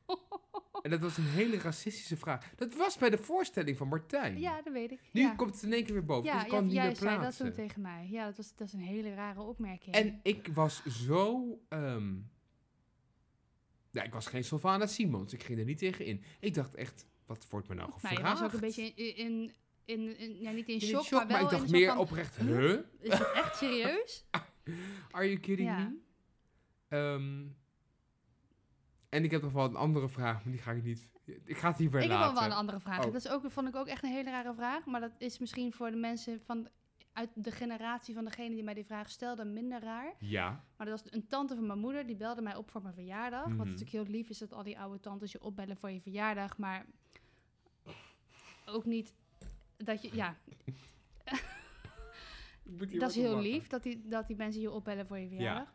C: En dat was een hele racistische vraag. Dat was bij de voorstelling van Martijn.
B: Ja, dat weet ik.
C: Nu
B: ja.
C: komt het in één keer weer boven,
B: ja,
C: dus ik kan
B: ja,
C: het niet
B: jij
C: meer
B: zei dat toen
C: plaatsen.
B: tegen mij. Ja, dat, was, dat is een hele rare opmerking.
C: en ik was zo... ehm, ja, ik was geen Sylvana Simons. Ik ging er niet tegen in. Ik dacht echt, wat wordt me nou
B: maar
C: gevraagd?
B: je was ook een beetje in, in, in, in- ja, niet in
C: In
B: shock, maar wel
C: ik
B: in
C: dacht
B: zo
C: meer
B: van,
C: oprecht,
B: huh?
C: huh?
B: Is het echt serieus?
C: Are you kidding
B: Ja.
C: me? Ehm, en ik heb nog wel een andere vraag, maar die ga ik niet... Ik ga het hierbij
B: ik heb
C: laten.
B: wel wel een andere vraag.
C: Oh.
B: Dat is ook, vond ik ook echt een hele rare vraag. Maar dat is misschien voor de mensen van, uit de generatie van degene die mij die vraag stelde minder raar.
C: Ja,
B: Maar dat was een tante van mijn moeder, die belde mij op voor mijn verjaardag. Wat
C: Mhm.
B: natuurlijk heel lief is dat al die oude tantes je opbellen voor je verjaardag. Maar ook niet dat je, ja,
C: Ik moet hier
B: dat is
C: wat om
B: heel
C: lachen.
B: lief dat die, dat die mensen je opbellen voor je verjaardag.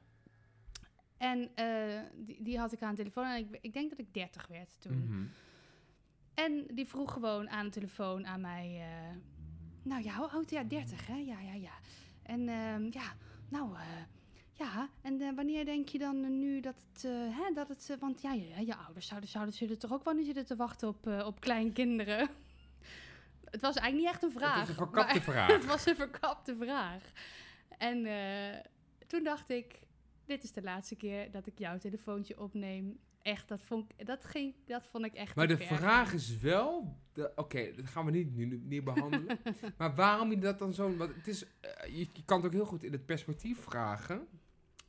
B: En eh, die, die had ik aan de telefoon. En ik, ik denk dat ik 30 werd toen.
C: Mhm.
B: En die vroeg gewoon aan de telefoon aan mij... eh, nou ja, hoe oud? Ja, 30 hè? Ja, ja, ja. En ehm, ja, nou... eh, ja, en eh, wanneer denk je dan eh, nu dat het... eh, hè, dat het eh, want ja, je, je ouders zouden, zouden zullen toch ook wel nu zitten te wachten op, eh, op kleinkinderen? het was eigenlijk niet echt een vraag.
C: Het is een
B: maar-
C: verkapte
B: het
C: vraag.
B: was een verkapte vraag. En eh, toen dacht ik, dit is de laatste keer dat ik jouw telefoontje opneem. Echt, dat vond ik, dat ging, dat vond ik echt
C: Maar
B: te
C: de
B: ver.
C: vraag is wel... de- Oké, dat gaan we niet, nu, nu- niet behandelen. maar waarom je dat dan zo... Want het is, eh, je, je kan het ook heel goed in het perspectief vragen.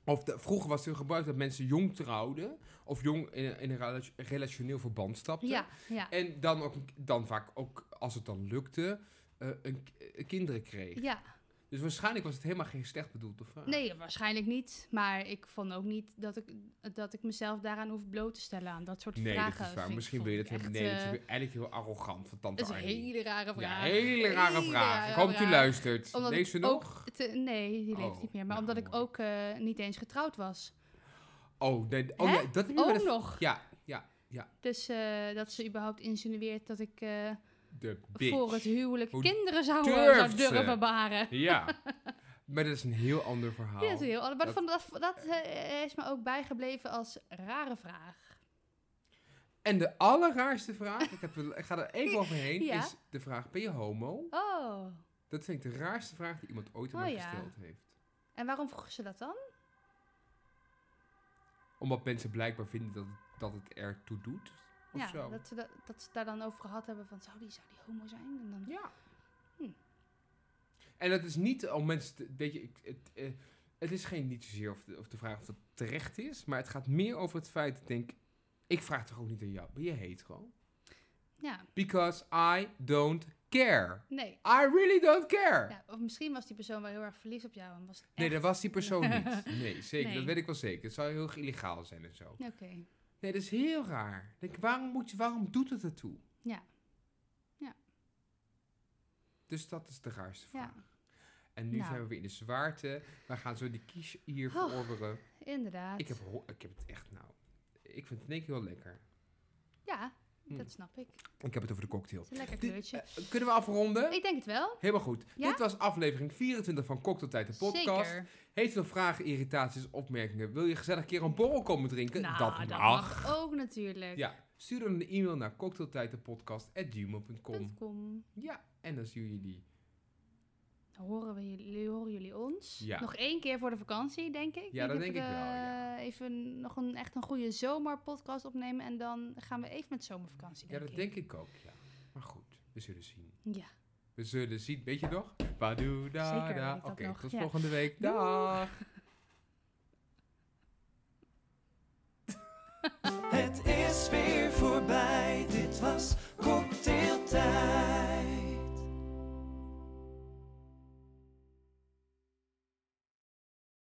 C: Of de- vroeger was het heel gebruikt dat mensen jong trouwden. Of jong in, een- in een rela- relationeel verband stapten.
B: Ja, ja.
C: En dan, ook, dan vaak ook, als het dan lukte, eh, een, eh, kinderen kreeg.
B: Ja,
C: Dus waarschijnlijk was het helemaal geen slecht bedoelde vraag.
B: nee, waarschijnlijk niet. Maar ik vond ook niet dat ik, dat ik mezelf daaraan hoef bloot te stellen aan dat soort
C: Nee,
B: vragen.
C: dat is waar.
B: vind-
C: Misschien
B: vond
C: wil je
B: ik
C: dat hebben.
B: echt,
C: Nee, dat is
B: eh,
C: natuurlijk eigenlijk heel arrogant van tante
B: dat is een
C: Arnie.
B: hele rare
C: Ja,
B: vraag.
C: hele rare
B: Hele
C: vraag.
B: rare
C: Ik hoop dat u
B: vraag.
C: luistert.
B: Omdat
C: Lees ze
B: ik
C: nog?
B: ook te- nee, die leeft
C: Oh,
B: niet meer. Maar
C: nou,
B: omdat ik
C: mooi.
B: ook eh, niet eens getrouwd was.
C: Oh, nee, oh
B: Hè?
C: ja, dat heb je wel
B: Ook
C: eens-
B: nog.
C: Ja, ja.
B: Dus eh, dat ze überhaupt insinueert dat ik eh,
C: De bitch.
B: voor het huwelijk
C: Hoe
B: kinderen zou, eh,
C: durft
B: zou
C: ze?
B: durven baren.
C: Ja. Maar dat is een heel ander verhaal.
B: Ja, dat is heel ander- Maar
C: Nou, Dat-
B: van dat, dat eh, is me ook bijgebleven als rare vraag.
C: En de allerraarste vraag, ik, heb, er- ik ga er even overheen,
B: Ja.
C: is de vraag, ben je homo?
B: Oh,
C: Dat vind ik de raarste vraag die iemand ooit aan
B: Oh,
C: mij
B: ja.
C: gesteld heeft.
B: en waarom vroeg ze dat dan?
C: Omdat mensen blijkbaar vinden dat, dat het ertoe doet. Of
B: ja,
C: zo.
B: Dat, ze dat, dat ze daar dan over gehad hebben van zou die, zou die homo zijn? En dan,
C: Ja.
B: Hm.
C: En dat is niet om mensen te, weet je, ik- het, eh, het is geen niet zozeer of de, of de vraag of dat terecht is, maar het gaat meer over het feit, ik denk, ik vraag toch ook niet aan jou, ben je hetero?
B: ja,
C: Because I don't care.
B: nee.
C: I really don't care.
B: Ja, of misschien was die persoon wel heel erg verliefd op jou en was het
C: Nee,
B: echt-
C: dat was die persoon niet. Nee, zeker.
B: Nee.
C: Dat weet ik wel zeker. Het zou heel erg illegaal zijn en zo.
B: Oké,
C: Nee, dat is heel raar. Ik Denk, waarom, moet je, waarom doet het ertoe?
B: Ja. Ja.
C: Dus dat is de raarste vraag.
B: ja,
C: En nu
B: Nou.
C: zijn we weer in de zwaarte. We gaan zo die kies hier
B: Oh,
C: verorberen.
B: inderdaad.
C: Ik heb, ho- ik heb het echt, nou... Ik vind het in één keer heel lekker.
B: Ja,
C: Hm.
B: dat snap ik. Het
C: Ik heb het over de cocktail.
B: is een lekker
C: Dit-
B: kleurtje.
C: Eh, Kunnen we afronden?
B: ik denk het wel.
C: Helemaal goed.
B: Ja?
C: Dit was aflevering 24 van Cocktailtijd, de podcast.
B: Zeker.
C: Heeft u nog vragen, irritaties, opmerkingen? Wil je gezellig een keer een borrel komen drinken?
B: Nou,
C: dat mag.
B: ook natuurlijk.
C: Ja, stuur dan een e-mail naar cocktailtijdenpodcast.gmail.com.
B: Punt com.
C: Ja, en dan zien jullie.
B: Horen, we jullie, horen jullie ons?
C: Ja.
B: Nog één keer voor de vakantie, denk ik.
C: Ja, dat
B: of
C: denk
B: we
C: ik wel,
B: de-
C: ja.
B: Even nog een, echt een goede zomerpodcast opnemen. En dan gaan we even met zomervakantie,
C: Ja,
B: denk
C: dat
B: ik.
C: denk ik ook, ja. Maar goed, we zullen zien.
B: Ja.
C: We zullen zien, weet je nog? Badoe, da,
B: Zeker,
C: da.
B: weet ik
C: Oké,
B: dat nog,
C: tot
B: ja.
C: volgende week.
B: Doeg.
C: Dag!